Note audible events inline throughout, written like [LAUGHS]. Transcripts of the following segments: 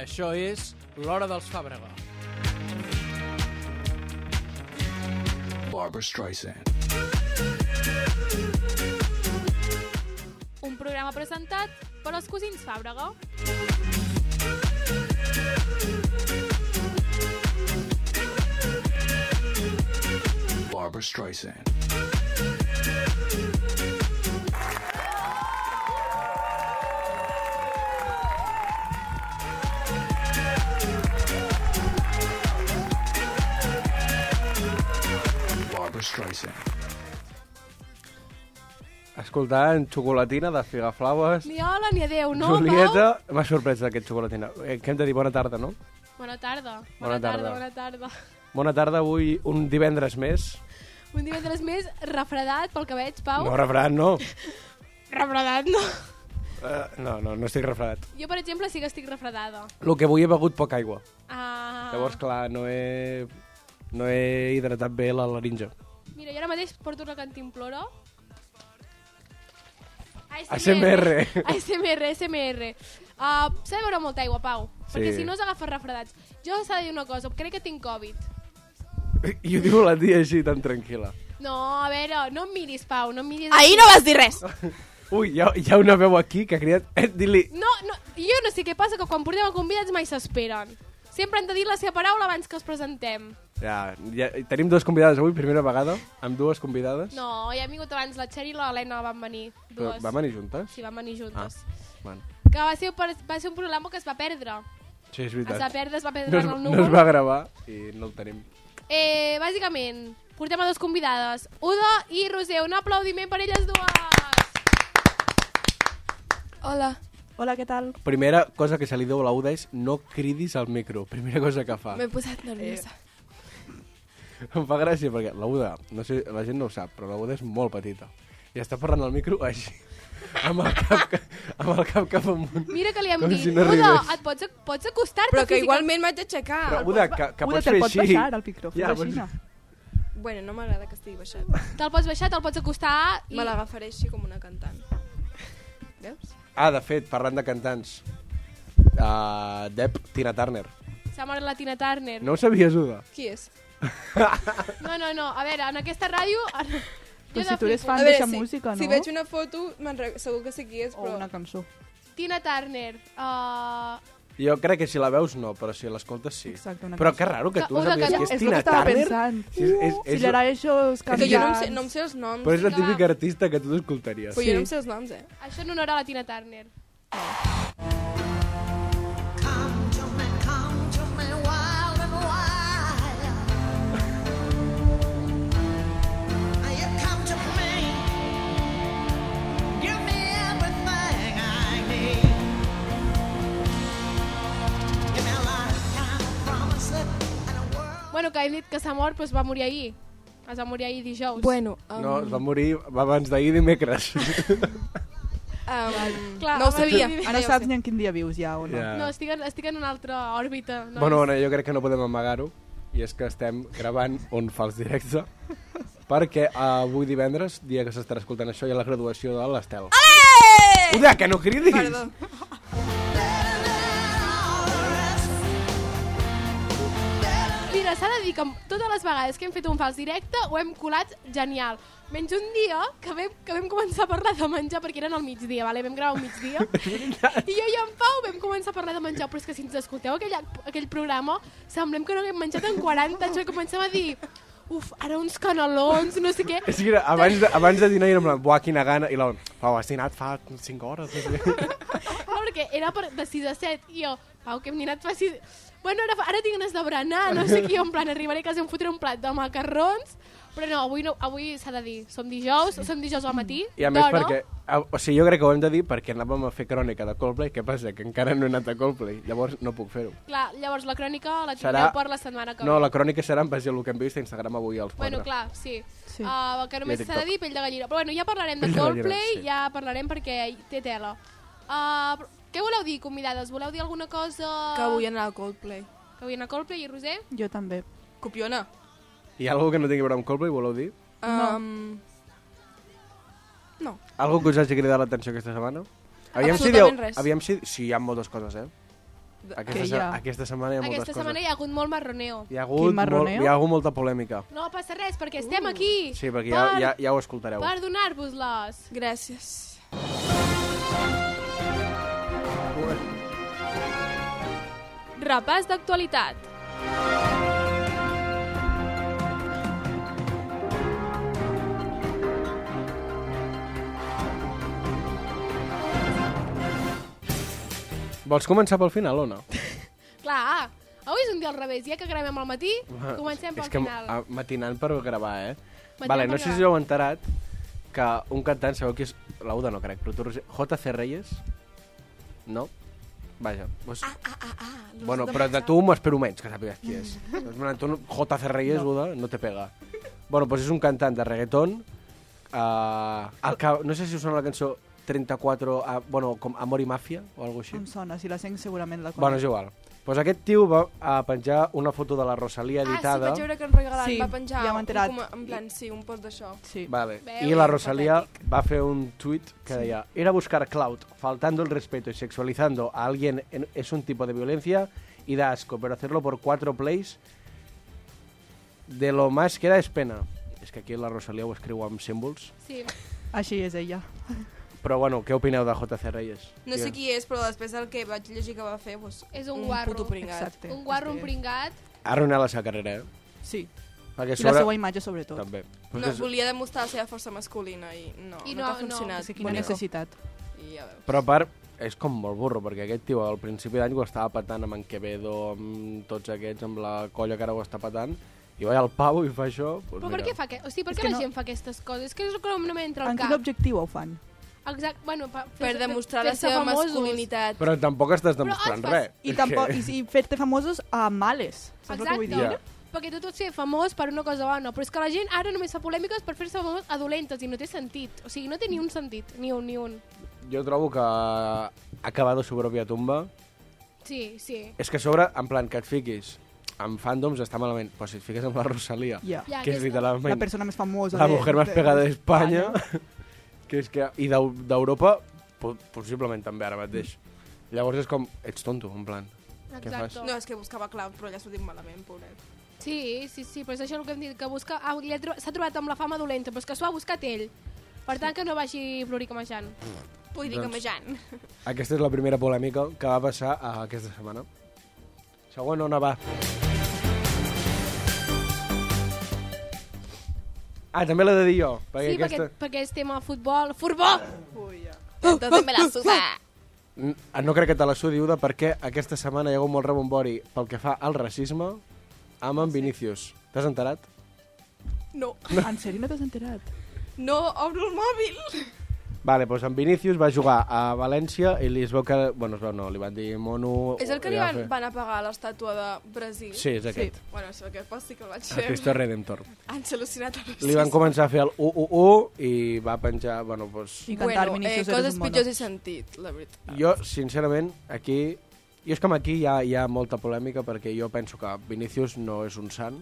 Això és l'Hora dels Fàbrega. Barbara Streisand. Un programa presentat per els cosins Fàbrega. Barbara Streisand. Barbara Streisand. Escoltant xocolatina de Figaflaues. Ni hola ni adeu, no? Julieta, m'ha sorprès aquest xocolatina. Eh, Què hem de dir? Bona tarda, no? Pau? Bona tarda. Bona tarda. Bona tarda. Bona tarda, avui un divendres més. Un divendres més refredat pel que veig, Pau. No, refredat, no. Refredat, no. Eh, no, no, no estic refredat. Jo, per exemple, sí que estic refredada. El que avui he begut poca aigua. Ah. Llavors, clar, no he, no he hidratat bé la laringe. Mira, jo ara mateix porto una cantimplora. ASMR. ASMR, ASMR. Uh, s'ha de beure molta aigua, Pau, Sí. perquè si no us agafes refredats. Jo s'ha de dir una cosa, crec que tinc Covid. I ho diu la tia així, tan tranquil·la. No, a veure, no em miris, Pau, no em miris... Ahir no vas dir res. Ui, hi ha, hi ha una veu aquí que ha cridat... Eh, Dili, No, no, jo no sé què passa, que quan portem a convidats mai s'esperen. Sempre han de dir la seva paraula abans que els presentem. Ja, ja, tenim dues convidades avui, primera vegada, amb dues convidades. No, ja han vingut abans, la Txell i l'Helena van venir. Però Dues. Vam venir juntes? Ah, Sí, van venir juntes. Bueno. Que va ser, per- va ser un programa que es va perdre. Sí, és Es va veritat. perdre, es va No perdre es, en el no núvol. es va gravar i no el tenim. Eh, bàsicament, portem a dues convidades, Uda i Roser. Un aplaudiment per elles dues. Hola. Hola, què tal? Primera cosa que se li deu a la Uda és no cridis al micro. Primera cosa que fa. M'he posat nerviosa. Eh, Em fa gràcia perquè la Uda, no sé, la gent no ho sap, però la Uda és molt petita. I està parlant al micro així, amb el cap, ca- amb el cap cap amunt. Mira que li hem Com dit. si no Uda, arribés. et pots, pots acostar-te Però que física- igualment m'haig d'aixecar. Però Uda, que, que Uda, pots te'l fer pots així. baixar, el micro, fes així, pots- no? Bueno, no m'agrada que estigui baixat. Te'l pots baixar, te'l pots acostar... I... Me l'agafaré així com una cantant. Veus? Ah, de fet, parlant de cantants, uh, Depp, Tina Turner. S'ha mort la Tina Turner. No ho sabies, Uda? [LAUGHS] Qui és? no, no, no. A veure, en aquesta ràdio... [LAUGHS] En... Però jo si tu eres flipo. fan d'aquesta Ah, música, no? si veig una foto, me'n re- segur que sé qui és, O però... una cançó. Tina Turner. Uh... Jo crec que si la veus no, però si l'escoltes sí. Exacte, una però cançó. que raro que Que tu una sàpigues cançó. que és És el que Tina estava Turner. pensant. Sí, és, és, Si és, l'era això És que jo no em, sé, no em sé els noms. però és la que va. típica artista que tu t'escoltaries. Però jo no em Sí. sé els noms, eh? Això en honor a la Tina Turner. Come to me, come to me, wild and wild. You come to me, give me everything I need. Give me a lifetime of promises and a world. Bueno, que hem dit que s'ha mort, però es va morir ahir. Es va morir ahir dijous. Bueno, um, No, es va morir abans d'ahir dimecres. um, Clar, no ho home, sabia. sí, sí. Ara Ara ja ho saps sé. ni en quin dia vius ja o no. Ja. No, estic en, estic en una altra òrbita. No? [LAUGHS] Bueno, bueno, jo crec que no podem amagar-ho i és que estem gravant un fals directe perquè eh, avui divendres, dia que s'estarà escoltant això, hi ha la graduació de l'Estel. Uda, que no cridis! Perdó. Mira, s'ha de dir que totes les vegades que hem fet un fals directe ho hem colat genial. Menys un dia que vam, que vam començar a parlar de menjar perquè eren al migdia, vale? vam gravar un migdia. I jo i en Pau vam començar a parlar de menjar, però és que si ens escolteu aquell, aquell programa, semblem que no haguem menjat en 40 anys, perquè començàvem a dir... Uf, ara uns canelons, no sé què. És que era- abans de, abans de dinar era en plan, buah, quina gana, i la... Pau, has dinat fa 5 hores. No sé. No, perquè era per, de 6 a 7 i jo, Pau, que hem dinat fa 6... Bueno, ara, fa- ara tinc ganes de berenar, no sé què, jo en plan, arribaré a casa i em fotré un plat de macarrons, però no, avui, no, avui s'ha de dir, som dijous, som dijous al matí, I a més d'hora. perquè... a- O sigui, jo crec que ho hem de dir perquè anàvem a fer crònica de Coldplay. Què passa? Que encara no he anat a Coldplay. Llavors no puc fer-ho. Clar, llavors la crònica la tindreu Serà- per la setmana que No, ve. la crònica serà en base al que hem vist a Instagram avui als Bueno, clar, quatre. sí. Sí. Uh, que només I a s'ha de TikTok. dir pell de gallina. Però bueno, ja parlarem de Pell de gallina, Coldplay, sí. ja parlarem perquè hi- té tela. Uh, però què voleu dir, convidades? Voleu dir alguna cosa? Que vull anar a Coldplay. Que vull anar a Coldplay i Roser? Jo també. Copiona. Hi ha algú que no tingui a veure amb Coldplay, voleu dir? Um, no. Algú que us hagi cridat l'atenció aquesta setmana? Aviam si Absolutament dieu, res. Aviam si... Sí, hi ha moltes coses, eh? Aquesta, Que se ja. aquesta setmana hi ha moltes Aquesta setmana coses. hi ha hagut molt marroneo. Hi ha Quin hagut, molt, marroneo? hi ha hagut molta polèmica. No passa res, perquè Uh. estem aquí Sí, perquè ja, per, ja, ja ho escoltareu. per donar-vos-les. Gràcies. Repàs d'actualitat. Vols començar pel final o no? Clar, ah, avui és un dia al revés, ja que gravem al [LAUGHS] matí, comencem pel És que ah. final. a- matinant per gravar, eh? Matinant vale, per no sé si gravar. us heu enterat que un cantant, sabeu qui és? L'Auda no crec, però tu, Roger- JC Reyes? No? Vaja. Doncs... Ah, ah, ah, ah. l'ús bueno, però de pensar. tu m'espero menys que sàpigues qui és. Doncs, bueno, tu, no- JC Reyes, no. Uda, no te pega. Bueno, doncs és un cantant de reggaeton. Uh, el que, no sé si us sona la cançó 34, uh, bueno, com Amor i Màfia o alguna així. Em sona, si la sent segurament la Bueno, és conec. igual. Doncs aquest tio va a penjar una foto de la Rosalia editada. Ah, sí, vaig veure que en regalat Sí, va penjar ja m'he enterat. un, com- en plan, sí, un post d'això. sí. Vale. Veu, Y la és Rosalía va a hacer un tweet que decía, ir a buscar cloud, faltando el respeto y sexualizando a alguien en- es un tipo de violencia y da asco, pero hacerlo por cuatro plays de lo más que da es pena. És que aquí la Rosalía ho escriu amb símbols. Sí. Així és ella. Però bueno, què opineu de JC Reyes? No sé qui és, però després el que vaig llegir que va fer, doncs, És un un guarro. puto pringat. Exacte. Un guarro, un pringat. Ha arruïnat la seva carrera, eh? Sí. Perquè I la seva imatge, sobretot. També. No, volia demostrar la seva força masculina i no, I no, no no, ha no. funcionat. És que quina Bueno, necessitat. I ja veus. Però a part, és com molt burro, perquè aquest tio al principi d'any ho estava patant amb en Quevedo, amb tots aquests, amb la colla que ara ho està patant, i va al pavo i fa això... Doncs Però per mira, què fa que... O sigui, per És què que la no- gent fa aquestes coses? És que és el que no m'entra al En quin cap. objectiu ho fan? Exacte, bueno, pa, Per fer-se- demostrar la fer-se seva famosos. masculinitat. Però tampoc estàs demostrant Però, res. I, És tampoc, que- i, i fer-te famosos a males. Saps el que vull Exacte. dir? Ja. Perquè tu t'has fer famós per una cosa bona, però és que la gent ara només fa polèmiques per fer-se famós a dolentes i no té sentit. O sigui, no té ni un sentit, ni un, ni un. Jo trobo que ha acabat la seva pròpia tumba. Sí, sí. És que a sobre, en plan, que et fiquis amb fandoms està malament, però si et fiques amb la Rosalia, Ja. Ja, que és aquesta- La literalment la, persona més famosa. de- mujer més de- pegada d'Espanya, que és que, i d'Eu- d'Europa, po- possiblement també ara mateix. Llavors és com, ets tonto, en plan. Què fas? Exacte. No, és que buscava clau, però ja s'ho dic malament, pobret. Sí, sí, sí, però és això el que hem dit, que busca... Ah, li ha tro- s'ha trobat amb la fama dolenta, però és que s'ho ha buscat ell. Per tant, que no vagi ploricamejant. Vull dir que [LAUGHS] majant. Aquesta és la primera polèmica que va passar eh, aquesta setmana. Següent, on va? Ah, també l'he de dir jo. Perquè Sí, aquesta... perquè, perquè és tema futbol. Futbol! Entonces me la suda. N- No crec que te la sudi, Uda, perquè aquesta setmana hi ha hagut molt rebombori pel que fa al racisme amb en Vinícius. T'has enterat? [LAUGHS] No, En sèrio no t'has enterat? no, obro el mòbil. Vale, doncs en Vinícius va jugar a València i li es veu que... Bueno, es veu no, li van dir mono... És el que li va van, fer- van apagar l'estàtua de Brasil. Sí, és aquest. Bueno, això que passa sí que el vaig Sí. fer. Cristo Redentor. Han al·lucinat a Li van començar a fer el 1-1-1 i va penjar... Bueno, doncs... I cantar bueno, eh, Vinícius eres coses un mono. pitjors he sentit, la veritat. Jo, sincerament, aquí... Jo és que amb aquí hi ha, hi ha molta polèmica perquè jo penso que Vinícius no és un sant.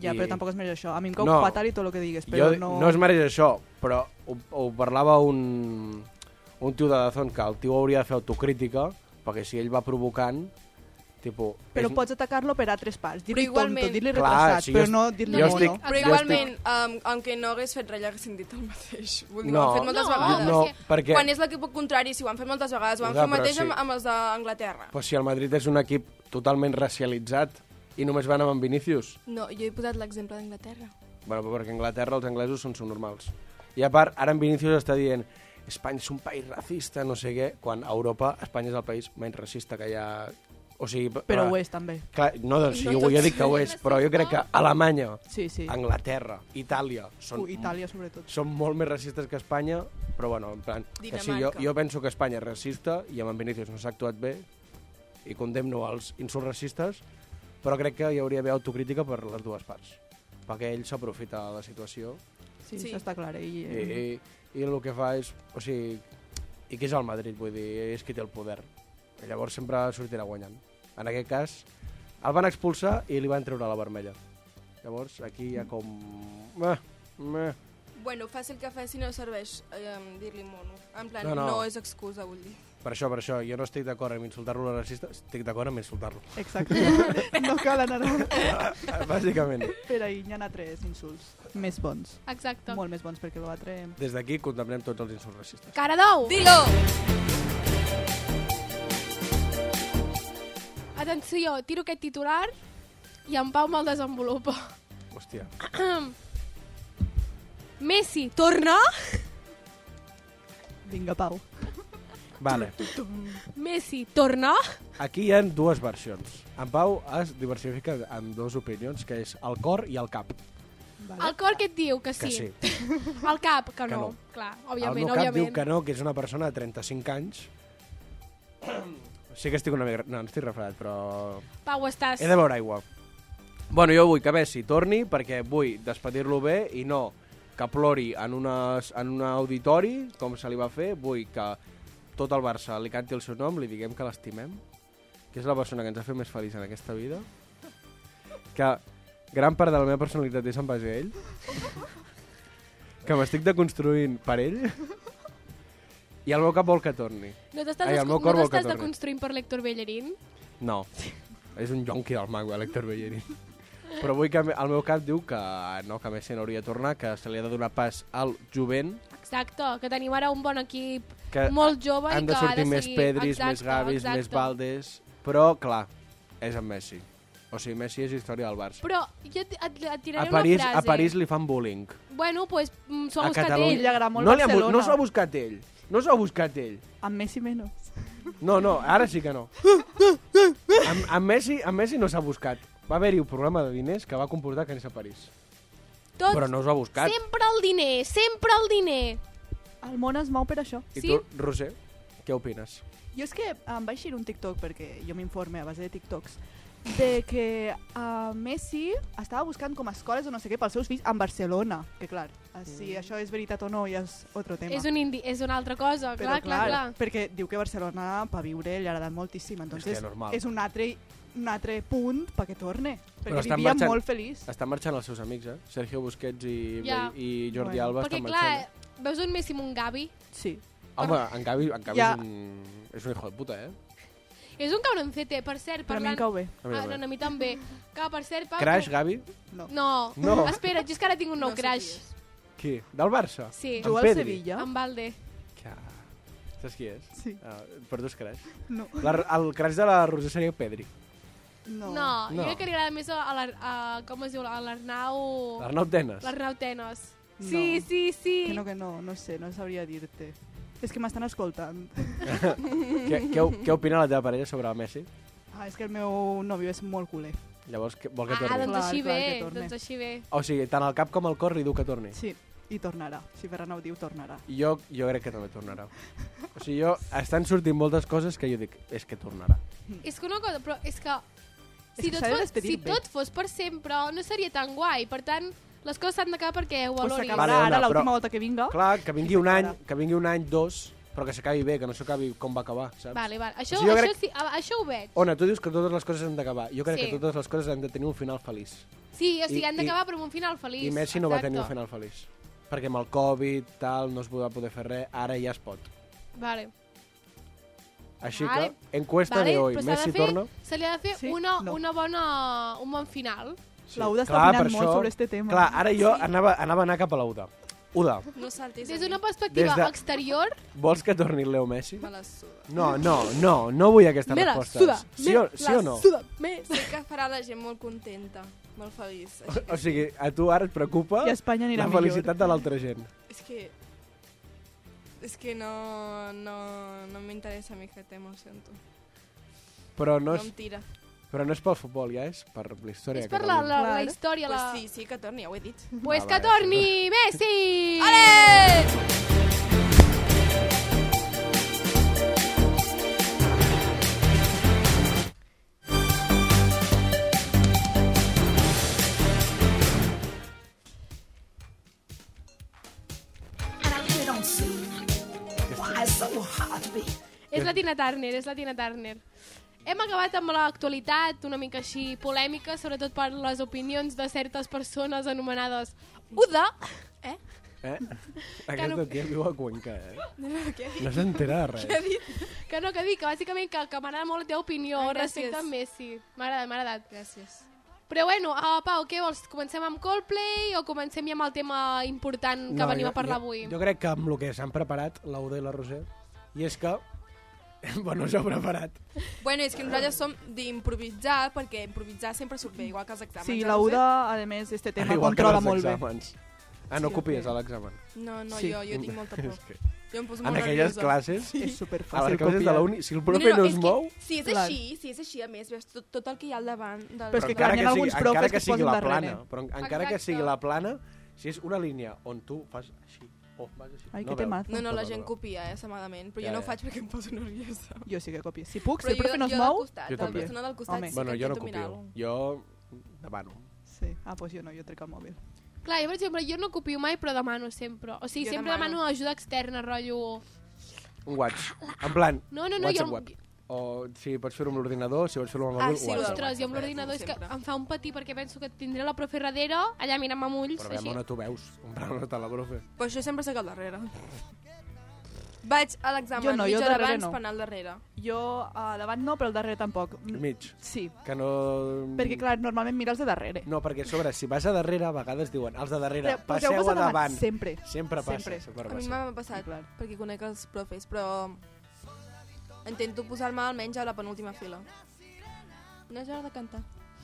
Ja, però I- tampoc es mereix això. A mi em cau No. fatal i tot el que digues, però jo, no... no es mereix això, però ho, ho parlava un, un tio de Dazón que el tio hauria de fer autocrítica perquè si ell va provocant, tipus... Però és- pots atacar-lo per altres parts. Dir-li Però tonto, igualment- dir-li Clar, retrasat, si jo però est- no dir-li jo mono. estic- Però Jo igualment, um, aunque no hagués fet res, ja hagués sentit el mateix. Vull dir, no, ho han fet moltes No, vegades. No, és que perquè... Quan és l'equip contrari, si ho han fet moltes vegades, ho han Ja, fet però mateix sí. amb, amb els d'Anglaterra. Però si el Madrid és un equip totalment racialitzat i només van amb en Vinícius, No, jo he posat l'exemple d'Anglaterra. Bueno, però perquè a Anglaterra els anglesos són subnormals. I a part, ara en Vinícius està dient Espanya és un país racista, no sé què, quan a Europa Espanya és el país menys racista que hi ha... O sigui, Però clar, ho és, també. Clar, no, doncs, No no jo, tots. jo dic que [LAUGHS] ho és, però jo crec que Alemanya, Sí, sí. Anglaterra, Itàlia, són, Ui, Itàlia, sobretot. són molt més racistes que Espanya, però bueno, en plan... Que sí, jo, Dinamarca. jo penso que Espanya és racista i amb en Vinícius no s'ha actuat bé i condemno els insults racistes, però crec que hi hauria d'haver autocrítica per les dues parts perquè ell s'aprofita de la situació Sí, Sí. això està clar. eh, I, i, i, i el que fa és... O sigui, i qui és el Madrid, vull dir, és qui té el poder. I llavors sempre sortirà guanyant. En aquest cas, el van expulsar i li van treure la vermella. Llavors, aquí hi ha com... Meh, meh. Bueno, fàcil que faci no serveix eh, dir-li mono. En plan, No, no, no. és excusa, vull dir. Per això, per això, jo no estic d'acord amb insultar-lo a racista, estic d'acord amb insultar-lo. [LAUGHS] Exacte. No cal anar a... Bàsicament. Per ahir n'hi ha tres insults més bons. Exacte. Molt més bons perquè l'altre... Des d'aquí condemnem tots els insults racistes. Cara d'ou! Dilo! Atenció, tiro aquest titular i en Pau me'l desenvolupa. Hòstia. Messi, torna? Vinga, Pau. Vale. Messi, torna? Aquí hi ha dues versions. En Pau es diversifica en dues opinions, que és el cor i el cap. El cor que et diu que Que sí. sí. El cap, que no. no. Clar, el òbviament, meu cap òbviament. diu que no, que és una persona de 35 anys. [CLEARS THROAT] Sí que estic una mica... No, no estic refredat, però... Pau, estàs... He de beure aigua. Bueno, jo vull que Messi torni perquè vull despedir-lo bé i no que plori en, unes, en un auditori, com se li va fer. Vull que tot el Barça li canti el seu nom, li diguem que l'estimem, que és la persona que ens ha fet més feliç en aquesta vida, que gran part de la meva personalitat és en base a ell, que m'estic deconstruint per ell, i el meu cap vol que torni. No t'estàs Ai, el descon- meu cor no vol que t'estàs torni. deconstruint per l'Hector Bellerín? No. És un yonqui del mago, l'Hector Bellerín. Però vull que el meu cap diu que no, que Messi no hauria de tornar, que se li ha de donar pas al jovent, Exacte, que tenim ara un bon equip que molt jove han i que de ha sortir de més seguir... Pedris, exacte, més Gavis, exacte. més Valdes... Però, clar, és en Messi. O sigui, Messi és història del Barça. Però jo et, et, et A tiraré París, una frase. a París li fan bullying. Bueno, pues, mm, s'ho A ha buscat Catalunya. ell. Li agrada molt no, li ha bu- Barcelona. no s'ho ha buscat ell. No s'ho ha buscat ell. Amb Messi menos. No, no, ara sí que no. Amb, amb, Messi, amb Messi no s'ha buscat. Va haver-hi un problema de diners que va comportar que anés a París. Tot, Però no s'ho ha buscat. sempre el diner, sempre el diner. El món es mou per això. I Sí? tu, Roser, què opines? Jo és que em va eixir un TikTok, perquè jo m'informe a base de TikToks, de que uh, Messi estava buscant com escoles o no sé què pels seus fills en Barcelona. Que clar, eh, si això és veritat o no ja és otro tema. És, un indi és una altra cosa, Però clar, clar, clar. Perquè diu que Barcelona, per viure, li ha agradat moltíssim. Entonces, Hòstia, normal. és un altre, un altre punt perquè torne. Perquè estan vivia marxant- molt feliç. Estan marxant els seus amics, eh? Sergio Busquets i, Ja. i Jordi Bueno. Alba Perquè, estan clar, eh, marxant. veus un Messi amb un Gavi? Sí. Home, en Gavi, en Gavi Ja. és, un, és un hijo de puta, eh? És un cabroncete, per cert, Però a mi em parlant... cau bé. A mi Ah, també. no, a mi també. Que, per cert, Pau... Crash, Gavi? No. No. No. espera, jo és que ara tinc un nou No sé crash. qui Qui? Del Barça? Sí, Jo- Juga al Pedri. Sevilla? amb Valde. Que... Saps qui és? Sí. Ah, per tu és Crash. No. La, el Crash de la Roser seria Pedri. No. No, No. jo crec que li agrada més a, a, l'Ar- a com es diu, a l'Arnau... L'Arnau Tenes. L'Arnau Tenos. No. Sí, sí, sí. Que no, que no, no sé, no sabria dir-te. És que m'estan escoltant. Què, què, o- què opina la teva parella sobre el Messi? Ah, és que el meu nòvio és molt culer. Llavors, que, vol que Ah, torni? doncs Clar, així clar, bé, que torni. doncs així bé. O sigui, tant el cap com el cor li diu que torni. Sí, i tornarà. Si Ferran ho diu, tornarà. Jo, jo crec que també tornarà. O sigui, jo, estan sortint moltes coses que jo dic, és que tornarà. És que una cosa, però és que... És Si, que tot, s'ha de fos, despedir si bé. tot fos per sempre, no seria tan guai. Per tant, les coses s'han d'acabar perquè ho Pues valoris. Vale, s'acabarà ara, Ona, l'última però- volta que vinga. Clar, que vingui un any, Ara. que vingui un any, dos, però que s'acabi bé, que no s'acabi com va acabar, saps? Vale, vale. Això, O sigui, jo això, crec- sí, a- això ho veig. Ona, tu dius que totes les coses han d'acabar. Jo crec Sí. que totes les coses han de tenir un final feliç. Sí, o sigui, I- han d'acabar però amb un final feliç. I Messi no va tenir un Exacte. final feliç. Perquè amb el Covid, tal, no es va poder fer res, ara ja es pot. Vale. Així Vale. que, encuesta vale, de hoy, però s'ha Messi de fer, torna? se li ha de fer Sí? una, No. una bona, un bon final. La Uda està Clar, opinant per molt sobre este tema. Clar, ara jo anava, anava a anar cap a la Uda. Uda, No saltis Des a mi. d'una perspectiva Des de- exterior, vols que torni Leo Messi? Me la suda. No, no, no, no vull aquestes me la respostes. suda, sí, me o, sí la o no? suda, me... Sé que farà la gent molt contenta, molt [LAUGHS] feliç. Així O sigui, a tu ara et preocupa I Espanya anirà la millor. felicitat de l'altra gent. És que... És que no, no, no m'interessa a mi que t'emociento. Però no, No, és, em tira. però no és pel futbol, ja és per la història. És de per la, Catalunya. la, la Clar. història. Pues La... sí, sí que torni, ja ho he dit. Pues Ah, que vale. torni Messi! [LAUGHS] Ale! And I really don't see why it's so hard to be. És la Tina Turner, és la Tina Turner. Hem acabat amb l'actualitat, una mica així polèmica, sobretot per les opinions de certes persones anomenades Uda, eh? Eh? Aquesta no- tia viu a Cuenca, eh? No s'entera de res. Que no, que dic, que bàsicament que, que m'agrada molt la teva opinió Ai, gràcies. respecte a Messi. M'ha agradat, m'ha agradat. Gràcies. Però bueno, uh, Pau, què vols? Comencem amb Coldplay o comencem ja amb el tema important que venim a parlar jo, avui? Jo crec que amb el que s'han preparat, l'Aude i la Roser, i és [LAUGHS] que... Bueno, s'ha preparat. Bueno, és que nosaltres som d'improvisar, perquè improvisar sempre surt bé, igual que els exàmens. Sí, ja la ho sé. Uda, a més, este tema Igual que controla els molt bé. exàmens. Ah, no Sí, copies ok. a l'examen. No, no, Sí. jo, jo [LAUGHS] tinc molta por. És que Jo em poso en molt aquelles nerviosa. classes, És a les superfàcil classes de copiar. la uni, si el profe no és es mou... Que, si és Clar. així, si és així, a més, veus tot, tot el que hi ha al davant. Del... Però és que, del- clar, encara n'hi ha que sigui, alguns profes encara que que es sigui posen la darrere. plana, però encara que Exacte. sigui la plana, si és una línia on tu fas així, o fas així... no Ai, que veus. temazo. No, no, la No, no, gent no. copia, eh, sa malament, però Ja, jo no ho ja. faig perquè em poso nerviosa. Jo sí que copio. Si puc, Però si el profe no es jo del mou... costat, Jo de la també. persona del costat, Home. sí Bueno, que jo no intento mirar-lo. copio. Jo demano. Sí. Ah, doncs jo no, jo trec el mòbil. Clar, jo per exemple, jo no copio mai, però demano sempre. O sigui, Jo sempre demano. demano ajuda externa, rotllo... Un watch. En plan, No, no, no, WhatsApp, jo... WhatsApp. o si pots fer-ho amb l'ordinador, si vols fer-ho amb el Ah, mòbil, sí, WhatsApp. Ostres, jo amb l'ordinador és que Sempre. em fa un patí perquè penso que tindré la profe darrere, allà mirant-me amb ulls, Però veiem així. on tu veus, en plan on està la profe. Però això sempre sé que al darrere. Vaig a l'examen, Jo no, jo mitja al hora darrere abans no. per anar al darrere. Jo a davant no, però al darrere tampoc. Mm, Mig. Sí, Que no... perquè clar, normalment mira els de darrere. No, perquè a sobre, si vas a darrere, a vegades diuen els de darrere, Però passeu poseu-vos a davant. Sempre. Sempre passa. Sempre. Sempre A mi passa. m'ha passat, Sí, clar. perquè conec els profes, però intento posar-me almenys a la penúltima fila. No és hora de cantar.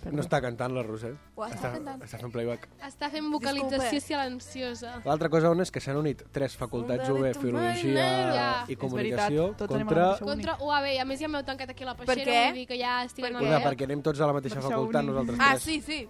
No està cantant la Roser. O està cantant. està fent playback. Està fent vocalització Disculpe. silenciosa. L'altra cosa on és que s'han unit tres facultats Un UB, dedito Filologia Ja. i És Comunicació veritat, tots anem a la contra... mateixa Contra UAB, i a més ja m'heu tancat aquí la Per què? peixera, vull dir que ja estic Per en què? Una, Eh? el... perquè anem tots a la mateixa Mateixa facultat, uni. nosaltres Ah, tres. sí, sí.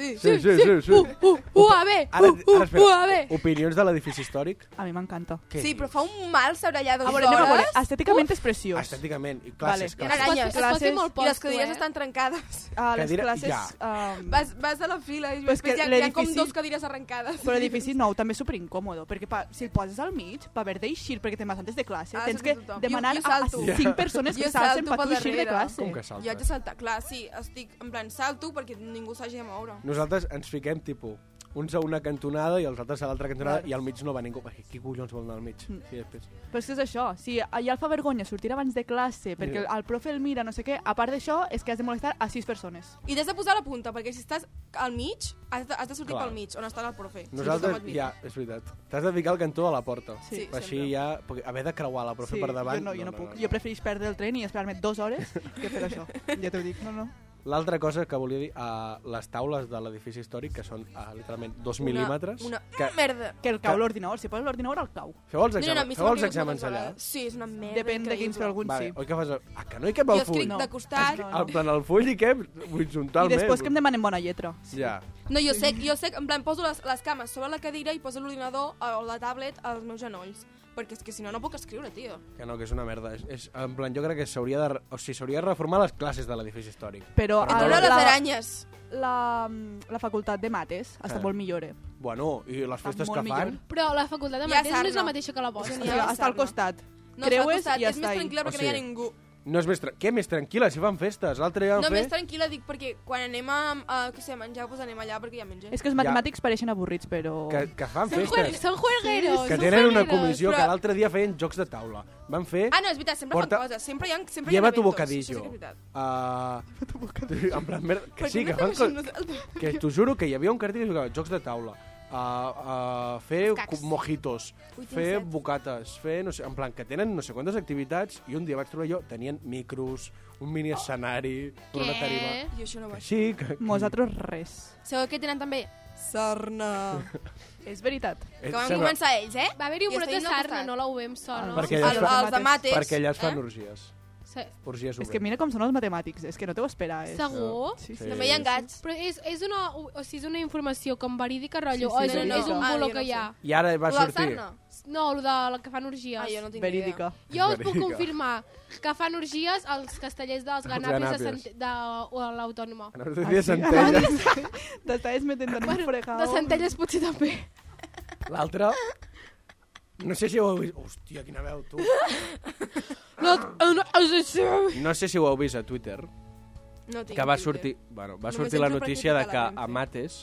Sí. Sí, sí, sí, sí. Uh, uh, UAB! Ara, Uh, uh, ara espera, UAB! opinions de l'edifici històric? A mi m'encanta. Què Sí, dius? però fa un mal saber allà A dues veure, Ah, anem a veure. hores. Estèticament és preciós. Estèticament, i classes, Hi Es classes. ha pot fer- aranyes. es pot fer Classes molt I les pocs, tu, cadires eh? estan trencades. [LAUGHS] A les Cadira- classes... ja. Um, Vas, vas a la fila i Però després és que hi ha, hi ha com l'edifici- dues cadires arrencades. Però edifici nou també és superincòmodo, perquè pa, si el poses al mig, va haver d'eixir, perquè te'n vas antes de classe, Ah, tens això que no tothom. demanar Jo- jo a, a salto. cinc persones Jo que salten salto per tu per eixir de darrere. classe. Com que Jo haig de saltes? saltar, clar, sí, estic en plan salto perquè ningú s'hagi de moure. Nosaltres ens fiquem, tipus, uns a una cantonada i els altres a l'altra cantonada i al mig no va ningú. Ai, qui collons vol anar al mig? Mm. Sí, després. Però és que és això, si allà el fa vergonya sortir abans de classe perquè el profe el mira, no sé què, a part d'això és que has de molestar a sis persones. I t'has de posar a la punta, perquè si estàs al mig, has de, has de sortir Clar. pel mig, on està el profe. Si Nosaltres, tothom et mira. ja, és veritat. T'has de ficar el cantó a la porta. Sí, Així sempre. ja, perquè haver de creuar la profe per davant... jo no, jo no, puc. Jo preferís perdre el tren i esperar-me dues hores que fer això. Ja t'ho dic, no, no. L'altra cosa que volia dir, a les taules de l'edifici històric, que són a, literalment dos mil·límetres, Una, una que merda. Que el cau l'ordinador, si poses l'ordinador, el cau. feu els No, no, no, a exàmens, mi feu se'm els cau exàmens moltes allà. vegades. Sí, és una merda. Depèn de quins, però Eh, increïble. alguns Vale, sí. oi que fas... el- Ah, que no hi cap al Jo escric full? Ah, No. de costat. Escric- En plan, el full hi cap I horitzontalment. després que em demanen bona lletra. Ja. No, jo sé, jo sé, en plan, poso les, les cames sobre la cadira i poso l'ordinador eh, o la tablet als meus genolls. Perquè és que si no, no puc escriure, tio. Que no, que és una merda. És, és, en plan, jo crec que s'hauria de... re- O sigui, s'hauria de reformar les classes de l'edifici històric. Però Però Entre Ah, una de les la, aranyes. la, la facultat de mates està Ah. molt millor, eh? Bueno, i les festes molt que fan... millor. Però la facultat de Ja mates no és sarna. la mateixa que la O vostra. eh? Genial. sigui, està al Sarna. costat. No, Creues està al costat, i ja és està més ahí. tranquil·la perquè O no hi ha sigui, ningú. No és més... Tra... Què més tranquil·la? Si fan festes. L'altre dia No, van fer... més tranquil·la dic perquè quan anem a, a què sé, a menjar, doncs anem allà perquè hi ha menja. És que els Ja. matemàtics pareixen avorrits, però... Que, que fan Són, juer, festes. són juergueros, Que són tenen una juergueros. comissió que però- l'altre dia feien jocs de taula. Van fer... Ah, no, és veritat, sempre Porta- fan coses. Sempre hi ha, sempre hi ha Lleva tu eventos. bocadillo. Això sí que és veritat. Ah, en plan, merda, que Per sí, què que no fan fem això coses... nosaltres? Que t'ho juro que hi havia un cartell que jugava jocs de taula, a, a fer Cacs. cu- mojitos, Ui, tinc fer set. bocates, fer, no sé, en plan, que tenen no sé quantes activitats, i un dia vaig trobar jo, tenien micros, un mini escenari, una tarima... Què? Jo Oh. això no ho Que vaig. Sí, que... Nosaltres res. Sabeu què tenen també? Sarna. És veritat. Que van començar ells, eh? Va haver-hi un I brot de estan sarna, al no la UB em sona. Perquè El, allà es fan, els de mates. perquè allà es fan eh? orgies. Se- Orgies És que mira com són els matemàtics, és que no t'ho esperes. Segur? Sí, Sí. sí. També hi ha gats. Però és, és, una, o sigui, és una informació com verídica, rotllo, Sí, sí, o és, no, un- no, és un no. Ah, bolo jo que no hi ha. I ara va Lo del sortir... sarna? No, el de la que fan orgies. Ah, jo no tinc idea. Verídica. Jo us puc Verídica. confirmar que fan orgies als castellers dels ganapis de, ganapis. Sant- de, o a l'Autònoma. Anaves a dir Ah, sí? [LAUGHS] centelles. T'estaves metent en un Ah. fregado. De Centelles potser també. L'altre... No sé si ho heu vist... Hòstia, quina veu, tu. No, no, no, No sé si ho heu vist a Twitter, No tinc que va Twitter. sortir, bueno, va Només sortir la entro per notícia de criticar que la a Renfe. Mates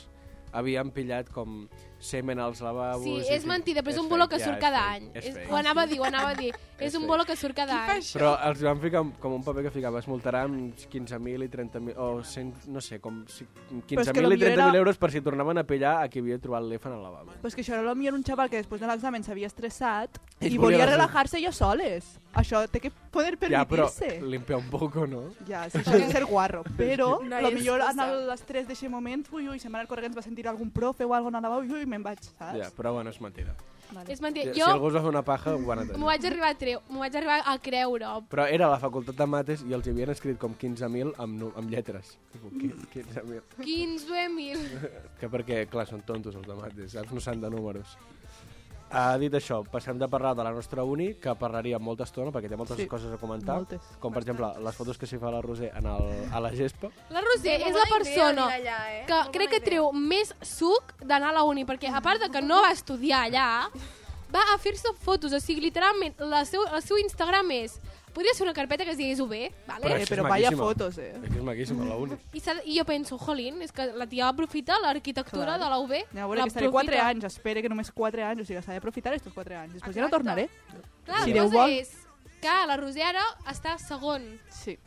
havien pillat com semen als lavabos... Sí, i és fi- mentida, però és un fake, bolo que ja, surt és cada fake, any. és És- fake. Ho anava a dir, ho anava a [LAUGHS] dir. És un fake. bolo que surt cada any. Però els van ficar com un paper que ficava, es multarà amb 15.000 i 30.000, o 100, no sé, com si- Però és que 15.000 i potser era- 30.000 euros per si tornaven a pillar a qui havia trobat l'elefant al lavabo. Però és que això era potser un xaval que després de l'examen s'havia estressat I i, volia volia resoldre. relajarse ellos soles. Això té que poder eh? Ja, però permitirse. limpia un poco, ¿no? Ja, [LAUGHS] sí, això és ser guarro, però No no hi lo ha millor en excusa. l'estrès d'aquest moment, ui, ui, se'n va anar corrents, va sentir algun profe o alguna cosa, ui, ui, me'n vaig, saps? Ja, però bueno, és mentida. Vale. És mentida. Si algú Eh, Jo us va fer una paja, ho van a m'ho tenir. vaig arribar a treu, m'ho vaig arribar a creure. Però era a la facultat de mates i els hi havien escrit com 15.000 amb, nu- amb lletres. Tipo, qui- 15.000. 15.000. Que perquè, clar, són tontos els de mates, saps? No s'han de números. Ha dit això, passem de parlar de la nostra uni, que parlaria molta estona, perquè té moltes Sí, coses a comentar. Moltes. Com, per exemple, les fotos que s'hi fa la Roser en el, a la gespa. La Roser és la persona que crec que treu més suc d'anar a la uni, perquè a part de que no va estudiar allà, va a fer-se fotos, o sigui, literalment, la seu, el seu Instagram és... Podria ser una carpeta que es digués UB, vale? Però Eh, això però és vaya maquíssima. fotos, eh? És que és maquíssima, la uni. I, s'ha de- I jo penso, jolín, és que la tia aprofita l'arquitectura Clar. de la UB. Ja veure que estaré 4 anys, espere que només 4 anys, o sigui, s'ha d'aprofitar estos 4 anys. Després ja no Exacte. tornaré. Clar, Si la Déu cosa vol. és que la Roser ara està segon Sí,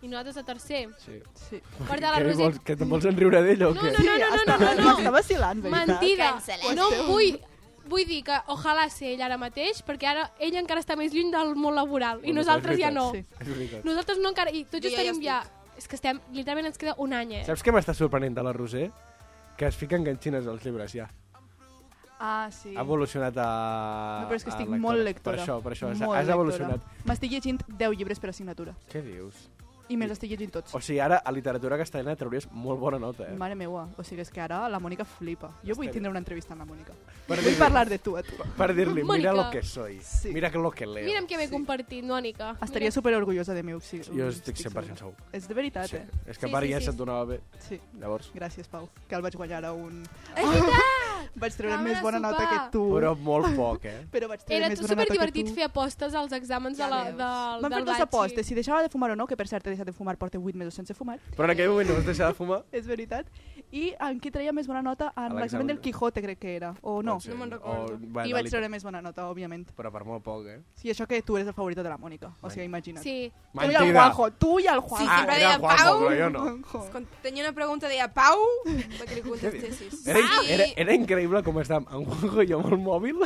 i nosaltres a tercer. Sí. sí. Per tant, la Què, Roser... vols, que te'n vols enriure d'ella o No, què? no, no, no, no, no, no, no. Està vacilant, veritat. Mentida. Cancela. No em vull... Vull dir que ojalà ser ell ara mateix, perquè ara ell encara està més lluny del món laboral i Bueno, nosaltres és ja veritat. no. Sí. És veritat. Nosaltres no encara... I tot Jo just ja hi tenim ja... estic. És que estem... Literalment ens queda un any, eh? Saps què m'està sorprenent de la Roser? Que es fiquen enganxines als llibres, ja. Ah, sí. Ha evolucionat a... No, però és que a estic molt lectora. Per això, per això. Has, Molt has lectora. evolucionat. M'estic llegint 10 llibres per assignatura. Què dius? I me'ls estic llegint tots. O sigui, ara a literatura castellana trauries molt bona nota, eh? Mare meua, o sigui, és que ara la Mònica flipa. Jo vull Espera. tindre una entrevista amb la Mònica. Per Vull parlar de tu a tu. Per dir-li, mira Mònica. lo que soy, Sí. mira lo que leo. Mira'm què m'he compartit, Mònica. Estaria Mira. super orgullosa de mi. o sigui, Jo estic segura. 100% segur. És de veritat, Sí. eh? És que Sí, per sí, ja sí. se't donava bé. Sí. Llavors, Gràcies, Pau, que el vaig guanyar a un... [LAUGHS] vaig treure Vam anar més a bona nota sopar. que tu. però molt poc, eh? però vaig treure Era més bona super nota que divertit tu. fer apostes als exàmens de Ja la, veus. del, Vam fer del dues batxi. apostes, eh? si deixava de fumar o no, que per cert he deixat de fumar, porta 8 mesos sense fumar, [LAUGHS] Però en aquell moment no vas deixar de fumar? és veritat, i en qui treia més bona nota? En A l'examen l'examen. del Quijote, crec que era, o no. Pot ser. No me'n O- recordo. bueno, I la vaig lit- treure més bona nota, òbviament. Però per molt poc, eh? Sí, això que tu eres el favorito de la Mònica, o sigui, imagina't. Sí. Tu i el Juanjo, tu i el Sí, Juanjo. Ah, eh. era sempre deia Juanjo, Pau. però jo no. Quan tenia una pregunta deia Pau, va que li contestessis. Era, Sí. era, era increïble com estàvem en Juanjo i jo amb el mòbil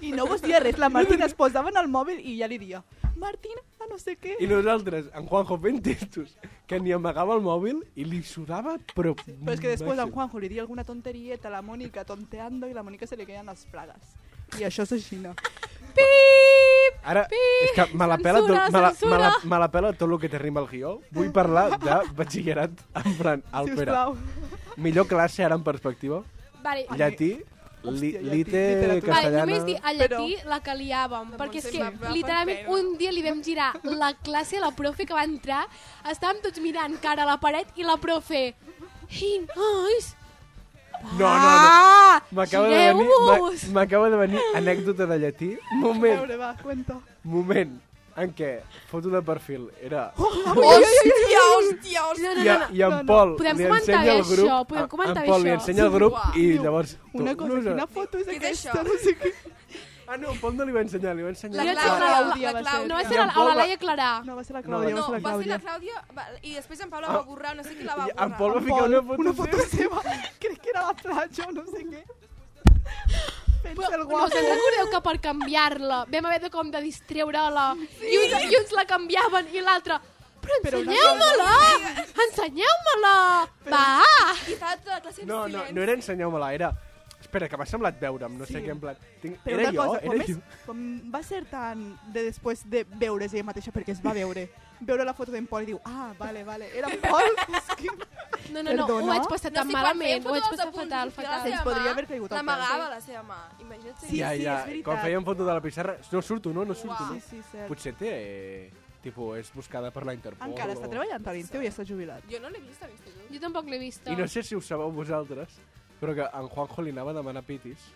I no vos dia [LAUGHS] res, la Martina es posava en el mòbil i ja li dia, Martina, no sé què. i nosaltres, en Juanjo fent textos, que ni amagava el mòbil i li sudava, però... Però és que després en màxim. Juanjo li dia alguna tonterieta a la Mònica tonteando i la Mònica se li queien les plagues. I això és així, no? Pip! Ara, és que me la pela, tot, Censura, me la, me la, censura. me la pela tot el que té rima al guió. Vull parlar de batxillerat en plan, al Pere. Sisplau. Millor classe ara en perspectiva. Vale. Ai, Llatí, li, hòstia, llatí, lite, literatura. Vale, castellana... només dir a llatí la que liàvem, La perquè és Montse que va- va per literalment terra. un dia li vam girar la classe a la profe que va entrar, estàvem tots mirant cara a la paret i la profe... Hey, nois! No, no, no. Ah! M'acaba de, venir, gireu-vos! m'a- m'acaba de venir anècdota de llatí. A [LAUGHS] Moment, veure, va, cuenta. moment en què foto de perfil era... Oh! Hòstia, hòstia, hòstia. No, no, I, a, no, no. i en Pol Podem li comentar ensenya bé el grup, això, podem en- comentar en bé Pol li això. ensenya el grup i Diu, llavors... tu, Una cosa, no, no. quina foto és Què és aquesta? això? No sé [LAUGHS] què. Ah, no, Pol no li va ensenyar, li va ensenyar... Li La vaig Clàudia, semblar- la la Clàudia. No va I ser a la, en a la Pol va- Laia Clarà. No, va ser la No, Clàudia, No, va ser la va ser la Clàudia. Clàudia va, i després en Pau la va borrar, no sé qui la va Ah. I borrar. en Pol va En ficar Pol, una foto, una foto seva. seva. Crec que era a la platja o no sé què. Pensa el Però, no, guapo. us en recordeu que per canviar-la vam haver de com de distreure-la i, uns, i uns la canviaven i l'altra però Però una ensenyeu-me-la! Ensenyeu-me-la! Va! I estava tota la classe en No, no, silenci. no era ensenyar-me-la, era... Espera, que m'ha semblat veure'm, no sé Sí. què, en plan... Tinc... Però era una jo, cosa, era com, és, jo. com va ser tan de després de veure's ella mateixa, perquè es va veure, veure la foto d'en Pol i diu, ah, vale, vale, [LAUGHS] era en Pol, és que... No, no, no, ho Perdona? vaig passar tan sé quan malament, feia ho vaig fotos passar dels fatal, apunts, fatal. la Ens seva podria mà, haver caigut al L'amagava pèl. la seva mà, imagina't. Sí, ja, sí, ja, és veritat. quan feien foto de la pissarra... No surto, no? No surto, Uau. no? Sí, sí, cert. Potser té... Eh, tipo, és buscada per la Interpol. Encara està o- treballant a l'Inteu i està jubilat. Jo no l'he vist, aquesta llum. Jo tampoc l'he vista. I no sé si ho sabeu vosaltres, però que en Juanjo li anava a demanar pitis